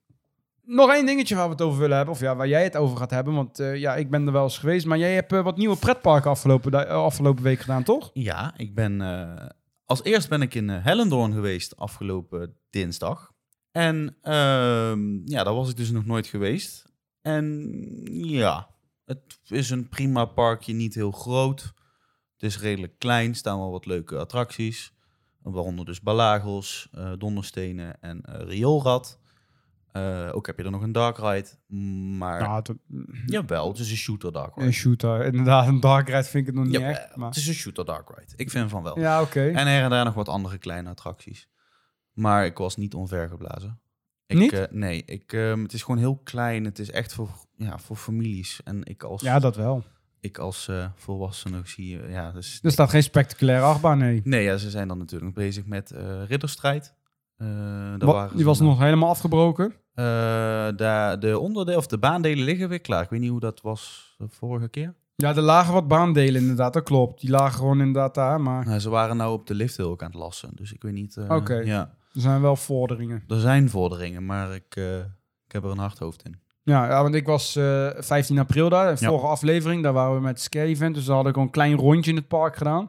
A: Nog één dingetje waar we het over willen hebben. Of ja, waar jij het over gaat hebben. Want eh, ja, ik ben er wel eens geweest. Maar jij hebt eh, wat nieuwe pretparken afgelopen, da- eh, afgelopen week gedaan, toch?
B: Ja, ik ben... eh, als eerst ben ik in eh, Hellendoorn geweest afgelopen dinsdag. En ehm, ja, daar was ik dus nog nooit geweest. En ja, het is een prima parkje, niet heel groot. Het is redelijk klein, staan wel wat leuke attracties. Waaronder dus balagels, eh, donderstenen en eh, rioolrad. Eh, ook heb je er nog een dark ride, maar
A: Nou, het-
B: jawel, het is een shooter dark ride.
A: een shooter. Inderdaad, een dark ride vind ik het nog niet
B: Jawel,
A: echt. Maar...
B: eh, Het is een shooter dark ride, ik vind van wel. Eh.
A: Ja, oké.
B: En her en daar nog wat andere kleine attracties. Maar ik was niet onvergeblazen. Ik,
A: Niet?
B: eh, nee, ik, ehm, het is gewoon heel klein. Het is echt voor, ja, voor families. En ik als,
A: Ja, dat wel. ik
B: ik als eh, volwassene zie... eh, Ja, dus,
A: Er staat geen spectaculaire achtbaan, nee.
B: nee, ja, ze zijn dan natuurlijk bezig met eh, ridderstrijd. Eh, daar
A: Wat-
B: waren
A: die
B: ze
A: was
B: dan-
A: nog helemaal afgebroken.
B: Eh, daar, de onderdeel of de baandelen liggen weer klaar. Ik weet niet hoe dat was de vorige keer.
A: Ja, er lagen wat baandelen inderdaad, dat klopt. Die lagen gewoon inderdaad daar, maar
B: Nou, ze waren nou op de lift heel ook aan het lassen. Dus ik weet niet... eh,
A: Oké.
B: Ja,
A: er zijn wel vorderingen.
B: er zijn vorderingen, maar ik, eh, ik heb er een hard hoofd in.
A: Ja, ja want ik was eh, 15 april daar, de
B: Ja.
A: vorige aflevering. Daar waren we met Scare Event, dus daar had ik al een klein rondje in het park gedaan.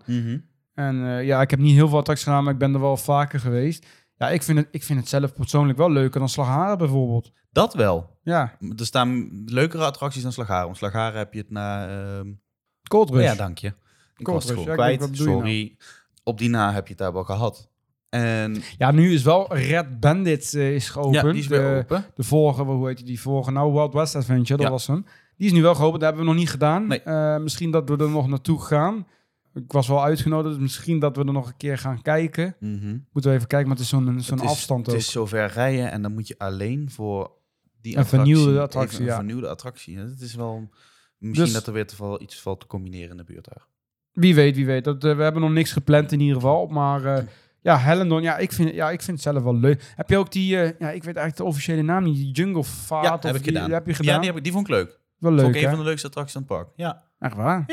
A: En eh, ja, ik heb niet heel veel attracties gedaan, maar ik ben er wel vaker geweest. Ja, ik vind het, ik vind het zelf persoonlijk wel leuker dan Slagharen bijvoorbeeld.
B: Dat wel.
A: Ja,
B: Er staan leukere attracties dan Slagharen. Want Slagharen heb je het na... ehm,
A: Cold Rush.
B: ja, dank je. Ik
A: Cold
B: was het
A: Rush,
B: gewoon
A: ja, ik
B: kwijt.
A: denk, wat bedoel je nou?
B: Sorry. Op die na heb je het daar wel gehad. En
A: Ja, nu is wel Red Bandit eh, is geopend.
B: ja, die is weer
A: Eh,
B: open.
A: De vorige, hoe heet die vorige? Nou, Wild West Adventure, dat
B: Ja.
A: was hem. Die is nu wel geopend, dat hebben we nog niet gedaan.
B: Nee.
A: Eh, misschien dat we er nog naartoe gaan. Ik was wel uitgenodigd, dus misschien dat we er nog een keer gaan kijken.
B: Mhm.
A: Moeten we even kijken, maar het is zo'n zo'n
B: Het is-
A: afstand
B: Het
A: ook.
B: is zover rijden en dan moet je alleen voor die
A: Een
B: attractie...
A: vernieuwde attractie,
B: even Een
A: ja.
B: vernieuwde attractie. Het is wel... Misschien
A: Dus-
B: dat er weer te veel, iets valt te combineren in de buurt daar.
A: Wie weet, wie weet. Dat, eh, we hebben nog niks gepland in ieder geval. Maar eh, ja, Helendon, ja ik, vind, ja, ik vind het zelf wel leuk. Heb je ook die, eh, ja, ik weet eigenlijk de officiële naam niet, die Jungle Vaart?
B: Ja,
A: of
B: heb ik
A: die-
B: gedaan.
A: die heb je
B: Ja,
A: gedaan?
B: die, heb ik, die vond ik leuk.
A: Wel
B: vond
A: leuk,
B: ik
A: hè?
B: een van de leukste attracties aan het park. Ja,
A: Echt waar?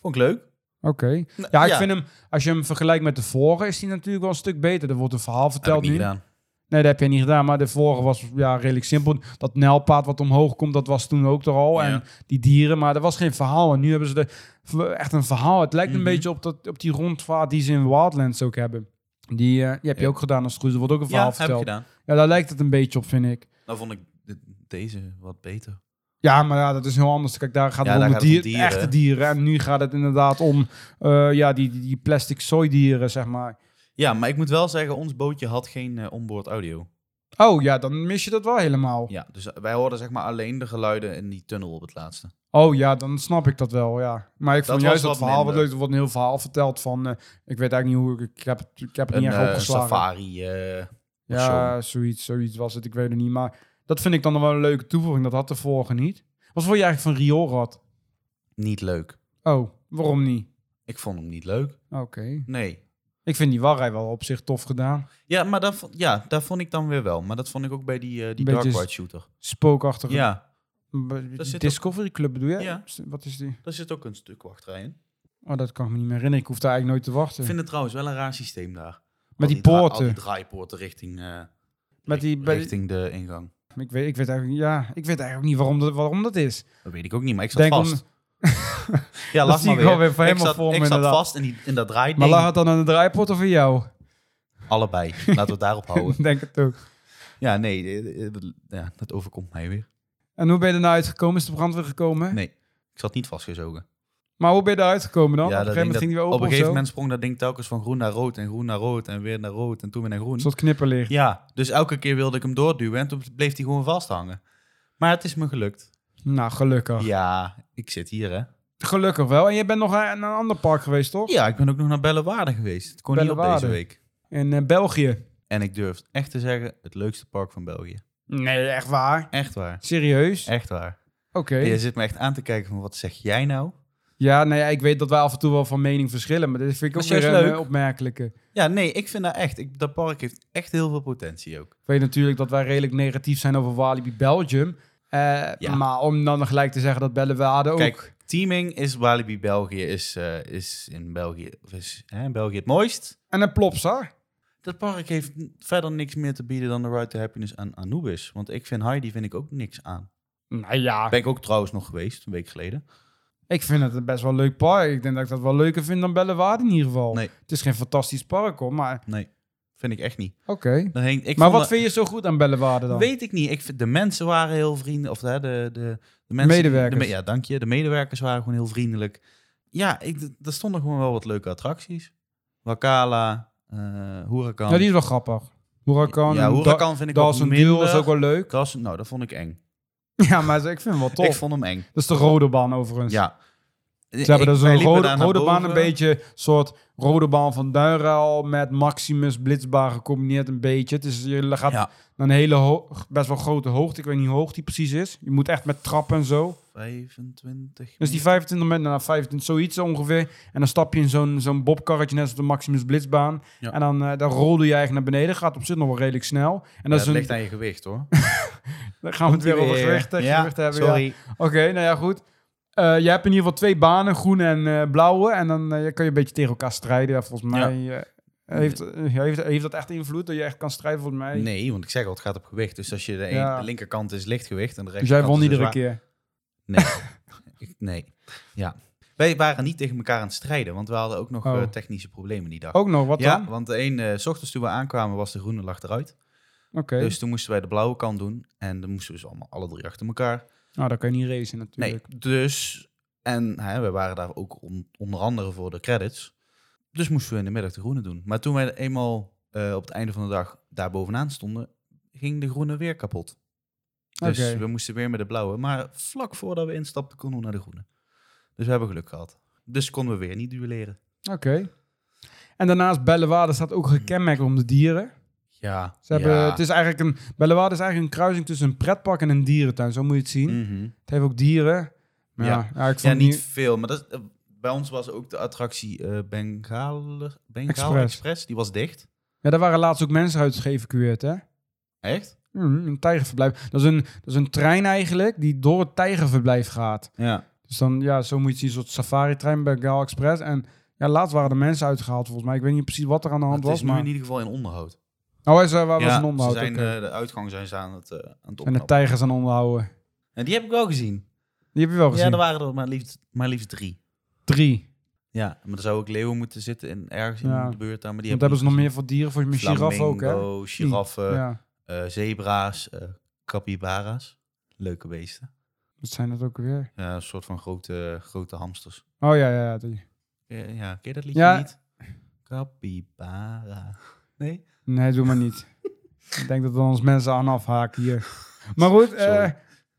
B: vond ik leuk.
A: Oké.
B: Nou,
A: Ja, ik vind hem, als je hem vergelijkt met de vorige, is die natuurlijk wel een stuk beter. Er wordt een verhaal
B: heb ik
A: verteld
B: niet
A: nu.
B: gedaan.
A: Nee, dat heb je niet gedaan. Maar de vorige was ja, redelijk simpel. Dat nijlpaad wat omhoog komt, dat was toen ook er al.
B: Ja.
A: En die dieren, maar er was geen verhaal. En nu hebben ze de, v- echt een verhaal. Het lijkt
B: Mhm.
A: een beetje op, dat, op die rondvaart die ze in Wildlands ook hebben. Die, eh, die heb je
B: Ja.
A: ook gedaan als het goed is. Er wordt ook een verhaal
B: Ja, heb ik
A: verteld.
B: gedaan.
A: Ja, daar lijkt het een beetje op, vind ik.
B: Dan Nou vond ik de- deze wat beter.
A: Ja, maar ja, dat is heel anders. Kijk, daar gaat
B: Ja,
A: het om
B: daar
A: de
B: gaat het
A: dier,
B: om dieren.
A: echte dieren. En nu gaat het inderdaad om eh, ja, die, die, die plastic soydieren, zeg maar.
B: Ja, maar ik moet wel zeggen, ons bootje had geen eh, onboard audio.
A: Oh ja, dan mis je dat wel helemaal.
B: Ja, dus wij hoorden zeg maar alleen de geluiden in die tunnel op het laatste.
A: Oh ja, dan snap ik dat wel, ja. Maar ik
B: Dat
A: vond
B: was
A: juist dat
B: wat
A: verhaal wat
B: minder.
A: leuk. Er wordt een heel verhaal verteld van... eh, ik weet eigenlijk niet hoe... Ik, ik heb, het- ik heb het
B: Een
A: niet echt
B: eh,
A: opgeslagen.
B: safari. eh,
A: ja, zoiets, zoiets was het. Ik weet het niet. Maar dat vind ik dan wel een leuke toevoeging. Dat had de vorige niet. Wat vond je eigenlijk van Rioolrad?
B: Niet leuk.
A: Oh, waarom niet?
B: Ik vond hem niet leuk.
A: Oké.
B: Nee.
A: Ik vind die warrij wel op zich tof gedaan.
B: Ja, maar dat, vond- ja, daar vond ik dan weer wel. Maar dat vond ik ook bij die, eh, die
A: Beetje
B: Dark
A: s-
B: Ride shooter.
A: Spookachtige...
B: Ja,
A: B-
B: Daar zit
A: Discovery Club bedoel je?
B: Ja.
A: Wat is die?
B: daar zit ook een stuk wachtrij in.
A: Oh, dat kan ik me niet meer herinneren. Ik hoef daar eigenlijk nooit te wachten.
B: Ik vind het trouwens wel een raar systeem daar.
A: Met
B: Al
A: die
B: dra-
A: poorten.
B: al die draaipoorten richting, eh,
A: Met die-
B: richt-
A: bij die-
B: richting de ingang.
A: Ik weet, ik weet eigenlijk, ja, ik weet eigenlijk ook niet waarom dat, waarom dat is.
B: Dat weet ik ook niet, maar ik zat
A: Denk om-
B: vast. [laughs] ja,
A: dat
B: lach
A: zie
B: maar
A: ik
B: weer.
A: wel weer voor
B: ik
A: helemaal
B: zat,
A: voor me
B: ik zat
A: inderdaad.
B: vast in, die, in dat draaiding.
A: Maar lag het dan aan de draaipot of aan jou? [laughs]
B: Allebei. Laten we het daarop houden.
A: Denk het ook.
B: Ja, nee. eh, eh, Ja, dat overkomt mij weer.
A: En hoe ben je ernaar uitgekomen? Is de brandweer gekomen?
B: Nee, ik zat niet vastgezogen.
A: Maar hoe ben je daar uitgekomen dan?
B: Ja,
A: op een
B: dat
A: gegeven moment
B: ding
A: ging die weer
B: dat-
A: open
B: Op een gegeven
A: of zo?
B: moment sprong dat ding telkens van groen naar rood en groen naar rood en weer naar rood en toen weer naar groen.
A: Een soort knipperlicht.
B: Ja, dus elke keer wilde ik hem doorduwen en toen bleef hij gewoon vasthangen. Maar het is me gelukt.
A: Nou, gelukkig.
B: Ja, ik zit hier hè.
A: Gelukkig wel. En je bent nog aan een ander park geweest, toch?
B: Ja, ik ben ook nog naar Bellewaarde geweest. Het kon niet op deze
A: Bellewaarde.
B: week.
A: In eh, België.
B: En ik durf echt te zeggen, het leukste park van België.
A: Nee, echt waar.
B: Echt waar.
A: Serieus? Oké.
B: Echt waar. Je zit me echt aan te kijken van wat zeg jij nou?
A: Ja, nee, ik weet dat wij af en toe wel van mening verschillen, maar dit vind ik ook
B: Maar
A: weer
B: juist
A: een
B: leuk.
A: eh, opmerkelijke.
B: Ja, nee, ik vind dat echt. Ik, dat park heeft echt heel veel potentie ook.
A: Ik weet natuurlijk dat wij redelijk negatief zijn over Walibi Belgium. Eh,
B: Ja.
A: Maar om dan gelijk te zeggen dat Bellewaarde ook...
B: Kijk, teaming is Walibi België, is, eh, is in België, of is, hè, in België het mooist.
A: En een plopsa.
B: Dat park heeft n- verder niks meer te bieden dan de Ride to Happiness aan Anubis. Want ik vind Heidi vind ik ook niks aan.
A: Nou ja,
B: Ben ik ook trouwens nog geweest, een week geleden.
A: ik vind het een best wel leuk park. Ik denk dat ik dat wel leuker vind dan Bellewaarde in ieder geval.
B: Nee.
A: Het is geen fantastisch park hoor, maar
B: Nee, vind ik echt niet.
A: oké.
B: Dan heen, ik
A: Maar
B: vond
A: wat
B: dat-
A: vind je zo goed aan Bellewaarde dan?
B: Weet ik niet. Ik vind, de mensen waren heel vriendelijk. Of hè, de, de, de mensen,
A: Medewerkers.
B: de me- ja, dank je. De medewerkers waren gewoon heel vriendelijk. Ja, ik, d- er stonden gewoon wel wat leuke attracties. Wakala, eh Huracan.
A: Ja, die is wel grappig. Huracan.
B: Ja,
A: en Da-
B: Huracan vind ik wel
A: Dawson Deal
B: minder.
A: is ook wel
B: [laughs]
A: leuk.
B: Dawson- nou, dat vond ik eng.
A: Ja, maar ik vind het wel tof.
B: Ik vond hem eng.
A: Dat is de rode baan overigens.
B: Ja.
A: Dus Ze hebben dus een rode, rode baan een beetje soort rode baan van Duinruil met Maximus Blitzbaan gecombineerd een beetje. Het is, je gaat
B: Ja.
A: naar een hele ho- best wel grote hoogte. Ik weet niet hoe hoog die precies is. Je moet echt met trappen en zo.
B: 25.
A: Dus die 25 meter, nou 25, zoiets ongeveer. En dan stap je in zo'n zo'n bobkarretje, net als de Maximus Blitzbaan.
B: Ja.
A: En dan, eh dan rolde je eigenlijk naar beneden. Gaat op zich nog wel redelijk snel. En
B: Ja,
A: dat
B: dat
A: is een,
B: ligt aan je
A: [laughs]
B: gewicht hoor.
A: dan gaan we het weer over gewicht, eh, gewicht hebben. ja.
B: sorry.
A: Oké, nou ja, goed. Eh, je hebt in ieder geval twee banen, groene en eh, blauwe. En dan eh, kan je een beetje tegen elkaar strijden. Ja, volgens mij eh, heeft, heeft, heeft dat echt invloed dat je echt kan strijden, volgens mij.
B: Nee, want ik zeg al, het gaat op gewicht. Dus als je de, een-
A: Ja.
B: de linkerkant is lichtgewicht en de
A: dus jij
B: rechterkant
A: won
B: is
A: iedere
B: zwaar-
A: keer.
B: Ik- nee, ja. Wij waren niet tegen elkaar aan het strijden, want we hadden ook nog
A: Oh.
B: eh, technische problemen die dag.
A: Ook nog, wat
B: ja,
A: dan?
B: want de een, eh, s ochtends toen we aankwamen was de groene lag eruit.
A: Oké,
B: Dus toen moesten wij de blauwe kant doen. En dan moesten we ze allemaal alle drie achter elkaar.
A: nou dan kan je niet racen natuurlijk.
B: Nee, dus... En hè, we waren daar ook on- onder andere voor de credits. Dus moesten we in de middag de groene doen. Maar toen wij eenmaal eh, op het einde van de dag daar bovenaan stonden... ging de groene weer kapot. Dus
A: Oké.
B: we moesten weer met de blauwe. Maar vlak voordat we instapten konden we naar de groene. Dus we hebben geluk gehad. Dus konden we weer niet duelleren.
A: Oké. En daarnaast, Bellewaarde staat ook gekenmerkt om de dieren.
B: Ja.
A: Ze hebben,
B: ja.
A: het is eigenlijk een, Bellewaarde is eigenlijk een kruising tussen een pretpark en een dierentuin. Zo moet je het zien.
B: Mhm.
A: Het heeft ook dieren. Maar ja,
B: Ja.
A: ja, ik vond
B: Ja,
A: het
B: niet veel. Maar dat, eh, bij ons was ook de attractie eh Bengaler, Bengaal
A: Express.
B: Express. Die was dicht.
A: Ja, daar waren laatst ook mensen uit geëvacueerd, hè?
B: Echt?
A: Mm, een tijgerverblijf. Dat is een, dat is een trein eigenlijk die door het tijgerverblijf gaat.
B: Ja.
A: Dus dan, ja, zo moet je het zien, een soort safari-trein bij Gal Express. En ja, laatst waren de mensen uitgehaald volgens mij. Ik weet niet precies wat er aan de hand
B: Het is
A: was,
B: nu
A: maar...
B: in ieder geval in onderhoud.
A: Oh, is, er waar was
B: Ja,
A: een onderhoud?
B: Ze zijn,
A: Oké.
B: eh, de uitgang zijn ze aan het, eh, aan het
A: en de
B: opknappen.
A: tijgers aan onderhouden.
B: En die heb ik wel gezien.
A: Die heb je wel gezien?
B: Ja, er waren er maar liefst, maar liefst drie.
A: Drie.
B: Ja, maar er zou ook leeuwen moeten zitten in, ergens
A: Ja.
B: in de buurt daar. Maar die
A: Want hebben ze nog
B: niet
A: meer voor dieren? Volgens mij
B: gezien.
A: giraf ook, hè?
B: Flamingo, giraffen,
A: Ja.
B: eh, zebra's, eh capybara's. Leuke beesten.
A: Wat zijn dat ook weer?
B: Ja, een soort van grote, grote hamsters.
A: Oh ja, ja, ja. die.
B: Ja, ja, ken je dat liedje
A: Ja.
B: niet? Capybara. Nee?
A: Nee, doe maar
B: [laughs]
A: niet. ik denk dat we ons mensen aan afhaken hier. Maar goed, eh,
B: Sorry.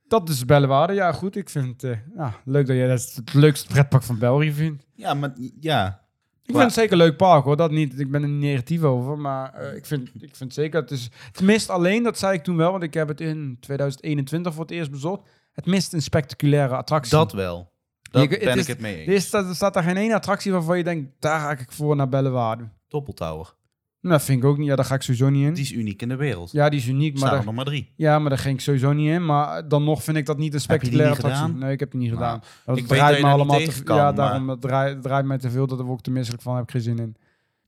A: dat is Bellewaarde. Ja, goed. Ik vind het eh, ja, leuk dat jij dat het leukste pretpark van België vindt.
B: Ja, maar ja.
A: Ik
B: Maar-
A: vind het zeker een leuk park hoor, dat niet. Ik ben er niet negatief over, maar eh, ik, vind, ik vind zeker... Het is, tenminste, alleen, dat zei ik toen wel, want ik heb het in 2021 voor het eerst bezocht. Het het mist een spectaculaire attractie.
B: Dat wel. Daar
A: Je- het
B: ben
A: is-
B: ik het mee eens.
A: Er, is, er Dus staat daar geen ene attractie waarvan je denkt, daar ga ik voor naar Bellewaarde.
B: Doppeltower.
A: Nou, dat vind ik ook niet. Ja, daar ga ik sowieso niet in.
B: Die is uniek in de wereld.
A: ja, die is uniek, maar
B: Staan er
A: daar,
B: nog maar drie.
A: ja, maar daar ging ik sowieso niet in. Maar dan nog vind ik dat niet een
B: je die
A: spectaculaire
B: niet
A: attractie.
B: gedaan?
A: Nee, ik heb die niet gedaan.
B: Nou,
A: Dat
B: ik weet
A: draait
B: dat je
A: me
B: daar
A: allemaal
B: niet
A: te
B: tegen
A: veel.
B: kan,
A: Ja,
B: maar-
A: daarom het draait, het draait mij te veel. Dat word ik te misselijk van. Daar heb ik geen zin in.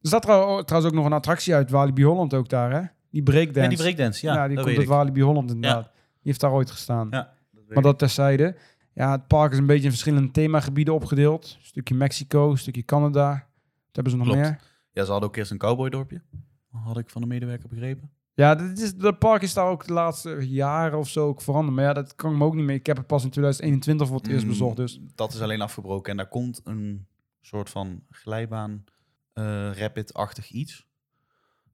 A: Er staat trouw- trouwens ook nog een attractie uit Walibi Holland ook daar, hè? Die breakdance.
B: En die breakdance, ja.
A: Ja, die
B: dat
A: komt
B: weet
A: uit
B: ik.
A: Walibi Holland inderdaad. Die heeft daar ooit gestaan.
B: Ja,
A: maar dat terzijde. Ja, het park is een beetje in verschillende themagebieden opgedeeld. Een stukje Mexico, een stukje Canada. Wat hebben ze nog
B: Klopt.
A: meer?
B: Ja, ze hadden ook eerst een cowboydorpje. Had ik van de medewerker begrepen.
A: Ja, dat, is, dat park is daar ook de laatste jaren of zo ook veranderd. Maar ja, dat kan ik me ook niet meer. Ik heb het pas in 2021 voor het eerst
B: Mm,
A: bezocht. Dus
B: Dat is alleen afgebroken. En daar komt een soort van glijbaan, eh, rapid-achtig iets.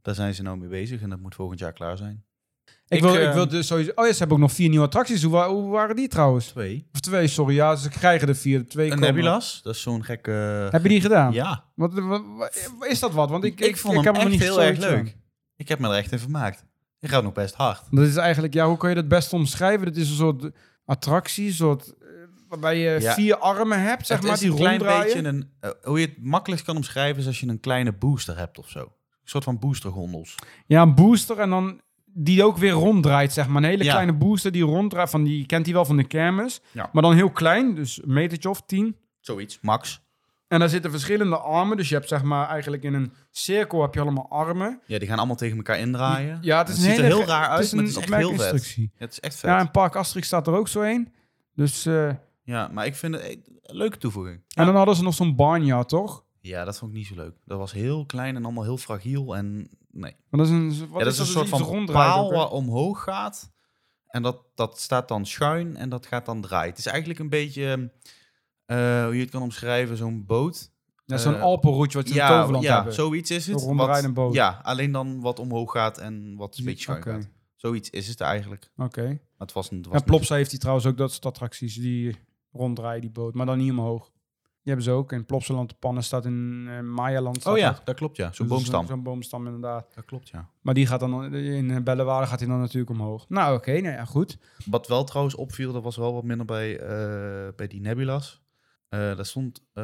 B: Daar zijn ze nou mee bezig en dat moet volgend jaar klaar zijn.
A: ik,
B: Ik,
A: wil, ik
B: eh,
A: wil dus sowieso... Oh ja, ze hebben ook nog vier nieuwe attracties. Hoe, wa- hoe waren die trouwens?
B: Twee.
A: Of twee, sorry. Ja, ze krijgen er vier. Twee
B: Een
A: komen.
B: Nebulas, dat is zo'n gekke...
A: Heb je die gedaan?
B: Ja,
A: Wat, wat- wat- is dat wat? Want ik,
B: Ik vond hem
A: kan me
B: echt
A: niet
B: heel
A: zoiets
B: erg leuk.
A: aan.
B: ik heb me er echt in vermaakt. Je gaat nog best hard.
A: Dat is eigenlijk, ja, hoe kan je dat best omschrijven? Dat is een soort attractie, een soort, eh, waarbij je
B: Ja.
A: vier armen hebt, zeg
B: het
A: maar,
B: is
A: die
B: een klein
A: ronddraaien.
B: beetje een... eh, hoe je het makkelijkst kan omschrijven is als je een kleine booster hebt of zo. Een soort van boostergondels.
A: Ja, een booster en dan die ook weer ronddraait, zeg maar. Een hele
B: Ja.
A: kleine booster die ronddraait, van, die je kent die wel van de kermis.
B: Ja.
A: Maar dan heel klein, dus een metertje of tien.
B: Zoiets. Max.
A: En daar zitten verschillende armen, dus je hebt zeg maar eigenlijk in een cirkel heb je allemaal armen.
B: Ja, die gaan allemaal tegen elkaar indraaien.
A: Ja, het is een
B: ziet
A: hele
B: er heel
A: ge-
B: raar
A: het
B: uit,
A: is
B: maar
A: een
B: het is echt heel vet.
A: opmerkinstructie.
B: Ja, het is echt vet.
A: Ja,
B: Ja,
A: en Park Asterix staat er ook zo een. Dus, eh,
B: maar ik vind het eh, een leuke toevoeging.
A: En dan hadden ze nog zo'n barnyard, toch?
B: Ja, dat vond ik niet zo leuk. Dat was heel klein en allemaal heel fragiel en nee.
A: Want dat is een, wat
B: ja,
A: is
B: dat is
A: dat
B: een soort
A: dus iets
B: van
A: ronddraait ook,
B: paal
A: hè?
B: wat omhoog gaat en dat, dat staat dan schuin en dat gaat dan draaien. Het is eigenlijk een beetje, eh, hoe je het kan omschrijven, zo'n boot.
A: Ja, zo'n
B: Eh,
A: Alpenroute wat je in
B: Ja,
A: Toverland
B: ja
A: hebben.
B: zoiets is het.
A: Een ronddraaiende boot.
B: Ja, alleen dan wat omhoog gaat en wat een beetje schuin
A: Oké,
B: gaat. Zoiets is het eigenlijk.
A: Oké.
B: Maar het was een... het was
A: En
B: niet-
A: Plopsa heeft die trouwens ook dat soort attracties die ronddraaien die boot, maar dan niet omhoog. Die hebben ze ook. In Plopsaland de pannen staat in eh Mayaland. staat
B: Oh
A: dat.
B: ja, dat klopt ja. Zo'n
A: Dus
B: boomstam.
A: Zo'n boomstam inderdaad.
B: Dat klopt ja.
A: Maar die gaat dan in eh, Bellewaarde gaat hij dan natuurlijk omhoog. Nou oké, nou ja goed.
B: Wat wel trouwens opviel, dat was wel wat minder bij, eh, bij die nebulas. Eh, daar stond, eh,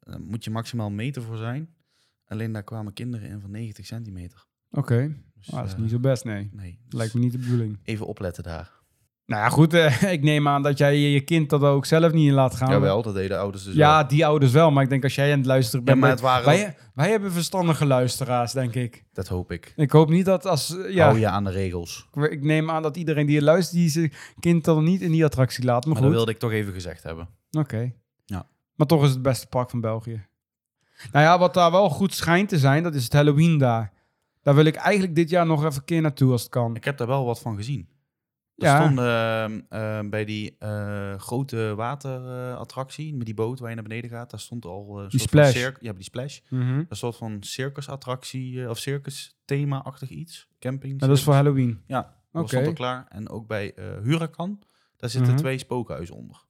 B: daar moet je maximaal een meter voor zijn. Alleen daar kwamen kinderen in van 90 centimeter.
A: Oké,
B: Dus,
A: Ah, dat is
B: eh,
A: niet zo best nee.
B: Nee, dus
A: Lijkt me niet de bedoeling.
B: even opletten daar.
A: Nou ja goed, eh, [laughs] ik neem aan dat jij je kind dat ook zelf niet in laat gaan.
B: Jawel, dat deden ouders dus wel.
A: Nou, Ja, die ouders wel, maar ik denk als jij aan het luisteren
B: Ja,
A: bent...
B: maar het waren ook-
A: wij, wij hebben verstandige luisteraars, denk ik.
B: Dat hoop ik.
A: Ik hoop niet dat als... eh, Ja,
B: Hou je aan de regels.
A: ik- ik neem aan dat iedereen die luistert, die zijn kind dan niet in die attractie laat. Maar,
B: Maar dat
A: goed,
B: wilde ik toch even gezegd hebben.
A: oké.
B: Ja.
A: Maar toch is het beste park van België. Nou ja, wat daar wel goed schijnt te zijn, dat is het Halloween daar. Daar wil ik eigenlijk dit jaar nog even een keer naartoe als het kan.
B: Ik heb daar wel wat van gezien. Er
A: Ja.
B: stonden eh, eh, bij die eh, grote waterattractie, met die boot waar je naar beneden gaat, daar stond al eh, een
A: Die
B: soort van
A: splash.
B: circ- Ja, die splash.
A: Mhm.
B: Een soort van circusattractie eh, of circus thema-achtig iets. Camping.
A: Nou, dat is voor Halloween.
B: Ja,
A: Oké.
B: dat stond al klaar. En ook bij eh Huracan, daar zitten
A: Mhm.
B: twee spookhuizen onder.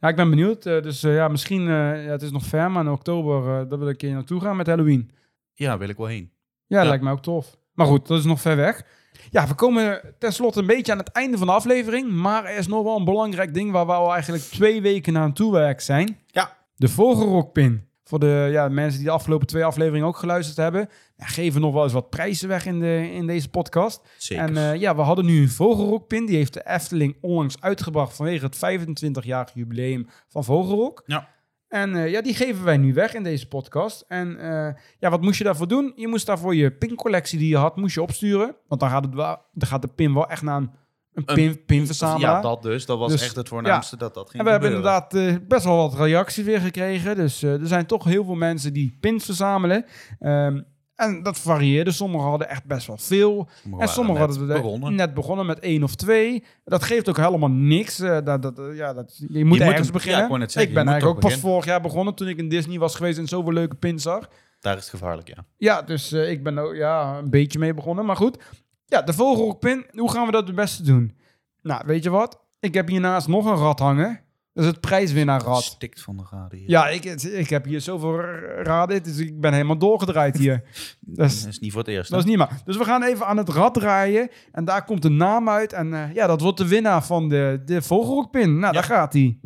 A: Ja, ik ben benieuwd. eh, dus eh, ja, misschien, eh, ja, het is nog ver, maar in oktober, eh, daar wil ik een keer naartoe gaan met Halloween.
B: Ja, wil ik wel heen.
A: Ja,
B: Ja.
A: lijkt mij ook tof. Maar goed, dat is nog ver weg. Ja, we komen tenslotte een beetje aan het einde van de aflevering. Maar er is nog wel een belangrijk ding waar we al eigenlijk twee weken aan toewerk zijn.
B: Ja.
A: De vogelrokpin. Voor de ja, mensen die de afgelopen twee afleveringen ook geluisterd hebben. Ja, geven nog wel eens wat prijzen weg in, de, in deze podcast.
B: Zeker.
A: En eh, ja, we hadden nu een vogelrokpin. Die heeft de Efteling onlangs uitgebracht vanwege het 25-jarig jubileum van Vogelrok.
B: Ja.
A: En eh, ja, die geven wij nu weg in deze podcast. En eh, ja, wat moest je daarvoor doen? Je moest daarvoor je pincollectie die je had, moest je opsturen. Want dan gaat, het wel, dan gaat de pin wel echt naar een, een
B: Een
A: pin,
B: ja,
A: pinverzamelaar.
B: dat dus. Dat was
A: Dus,
B: echt het voornaamste dat dat ging
A: en we hebben
B: gebeuren.
A: inderdaad eh, best wel wat reacties weer gekregen. Dus eh, er zijn toch heel veel mensen die pins verzamelen. Ehm, en dat varieerde. Sommigen hadden echt best wel veel. En
B: waren
A: sommigen
B: net
A: hadden we de-
B: begonnen.
A: net begonnen met één of twee. Dat geeft ook helemaal niks. Eh, dat, dat, eh, ja, dat, je moet
B: moet
A: ergens
B: hem-
A: beginnen.
B: ja, ik wou net zeggen,
A: ben
B: je moet
A: eigenlijk ook
B: toch
A: pas vorig jaar begonnen toen ik in Disney was geweest en zoveel leuke pins zag.
B: Daar is het gevaarlijk, ja.
A: Ja, dus eh, ik ben ook ja, een beetje mee begonnen. Maar goed, ja, de vogelrokpin. Hoe gaan we dat het beste doen? Nou, weet je wat? Ik heb hiernaast nog een rad hangen. Dat is het prijswinnaarrad.
B: Stikt van de radio.
A: Ja, ik, ik heb hier zoveel raden, dus ik ben helemaal doorgedraaid hier. [laughs] Dat is,
B: Dat is niet voor het eerst.
A: dat is niet maar. Dus we gaan even aan het rad draaien en daar komt de naam uit. En eh, ja, dat wordt de winnaar van de, de vogelrokpin. Nou,
B: Ja.
A: daar gaat hij.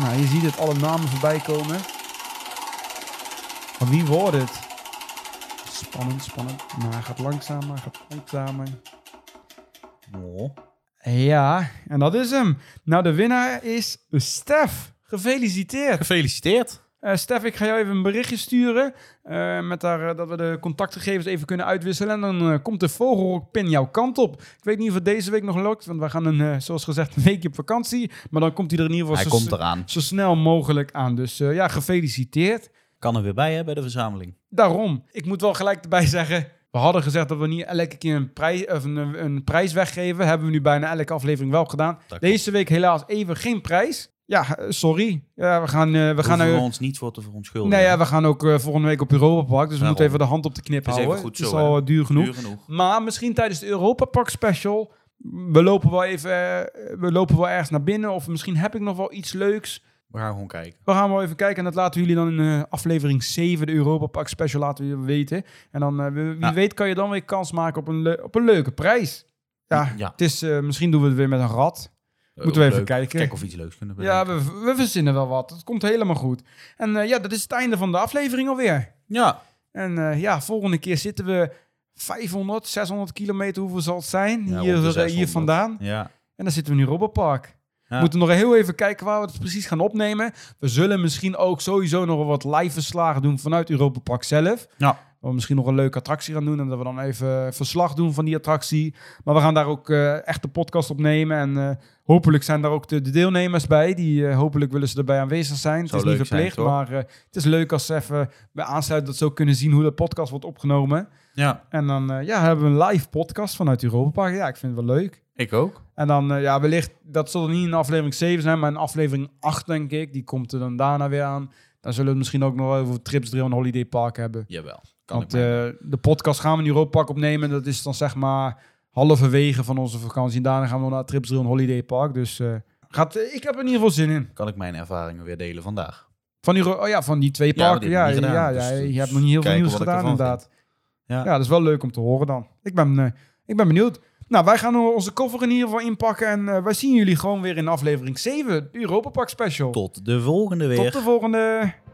A: Nou, je ziet het, alle namen voorbij komen. Van wie wordt het? Spannend, spannend. Maar hij gaat langzamer, hij gaat langzamer.
B: hè? Oh.
A: Ja, en dat is hem. Nou, de winnaar is Stef. Gefeliciteerd.
B: Gefeliciteerd.
A: Eh, Stef, ik ga jou even een berichtje sturen. eh, met daar, eh, dat we de contactgegevens even kunnen uitwisselen. En dan eh, komt de vogelrokpin jouw kant op. Ik weet niet of het deze week nog lukt. Want wij gaan, een, eh, zoals gezegd, een weekje op vakantie. Maar dan komt hij er in ieder geval
B: Hij
A: zo,
B: komt eraan.
A: zo snel mogelijk aan. Dus eh, ja, gefeliciteerd.
B: Kan er weer bij hè, bij de verzameling.
A: Daarom. Ik moet wel gelijk erbij zeggen. We hadden gezegd dat we niet elke keer een prijs, of een, een prijs weggeven. Hebben we nu bijna elke aflevering wel gedaan.
B: klopt.
A: Deze week helaas even geen prijs. Ja, eh, sorry. Ja, we gaan, eh, we
B: Hoeven
A: gaan eh,
B: we ons niet voor te verontschuldigen.
A: Nee, ja, we gaan ook eh, volgende week op Europa Park. Dus we
B: Daarom.
A: moeten even de hand op de knip
B: Nou, Is even
A: houden.
B: goed
A: het is
B: zo,
A: al
B: hè?
A: eh, duur genoeg.
B: Duur genoeg.
A: Maar misschien tijdens de Europa Park special. We lopen wel even eh, we lopen wel ergens naar binnen. Of misschien heb ik nog wel iets leuks.
B: We gaan gewoon kijken.
A: We gaan wel even kijken. En dat laten we jullie dan in eh, aflevering 7, de Europa Park special, laten we jullie weten. En dan, eh, wie wie
B: Ja.
A: weet, kan je dan weer kans maken op een, le- op een leuke prijs. Ja,
B: Ja.
A: Het is, eh, misschien doen we het weer met een rat. Moeten we
B: Ook
A: even
B: leuk.
A: kijken.
B: Kijken of we iets leuks kunnen
A: Ja,
B: bedenken.
A: we, we verzinnen wel wat. Het komt helemaal goed. En eh, ja, dat is het einde van de aflevering alweer.
B: Ja.
A: En eh, ja, volgende keer zitten we 500, 600 kilometer, hoeveel zal het zijn?
B: Ja, rond de
A: hier, eh, hier
B: 600.
A: vandaan.
B: Ja.
A: En dan zitten we nu Robberpark.
B: Ja.
A: We moeten nog heel even kijken waar we het precies gaan opnemen. We zullen misschien ook sowieso nog wel wat live verslagen doen vanuit Europa Park zelf.
B: Ja.
A: Dat we misschien nog een leuke attractie gaan doen. En dat we dan even eh, verslag doen van die attractie. Maar we gaan daar ook eh, echt de podcast opnemen. En eh, hopelijk zijn daar ook de, de deelnemers bij. Die eh, hopelijk willen ze erbij aanwezig zijn.
B: Zou
A: het is niet
B: leuk zijn,
A: verplicht,
B: toch?
A: maar eh, het is leuk als ze even bij aansluiten dat ze ook kunnen zien hoe de podcast wordt opgenomen.
B: ja,
A: En dan eh, ja, hebben we een live podcast vanuit Europa Park. Ja, ik vind het wel leuk.
B: ik ook.
A: En dan, eh, ja, wellicht, dat zal dan niet in aflevering 7 zijn, maar in aflevering 8, denk ik. Die komt er dan daarna weer aan. Dan zullen we het misschien ook nog over Trips Drill en Holiday Park hebben.
B: Jawel.
A: Want eh, de podcast gaan we in Europa Park opnemen. Dat is dan zeg maar halverwege van onze vakantie. En daarna gaan we nog naar Trips Drill en Holiday Park. Dus eh, gaat, ik heb er in ieder geval zin in.
B: kan ik mijn ervaringen weer delen vandaag.
A: Van, Euro oh ja, van die twee
B: Ja, maar
A: parken.
B: die
A: Ja,
B: heb ik
A: ja,
B: niet
A: ja,
B: gedaan. Dus
A: je
B: dus
A: hebt nog niet heel veel
B: kijken
A: nieuws
B: wat ik
A: gedaan
B: ervan
A: inderdaad. Ja.
B: Ja.
A: dat is wel leuk om te horen dan. Ik ben, eh, ik ben benieuwd. Nou, wij gaan onze koffer in ieder geval inpakken. En eh, wij zien jullie gewoon weer in aflevering 7. Europa Park Special.
B: Tot de volgende weer.
A: Tot de volgende.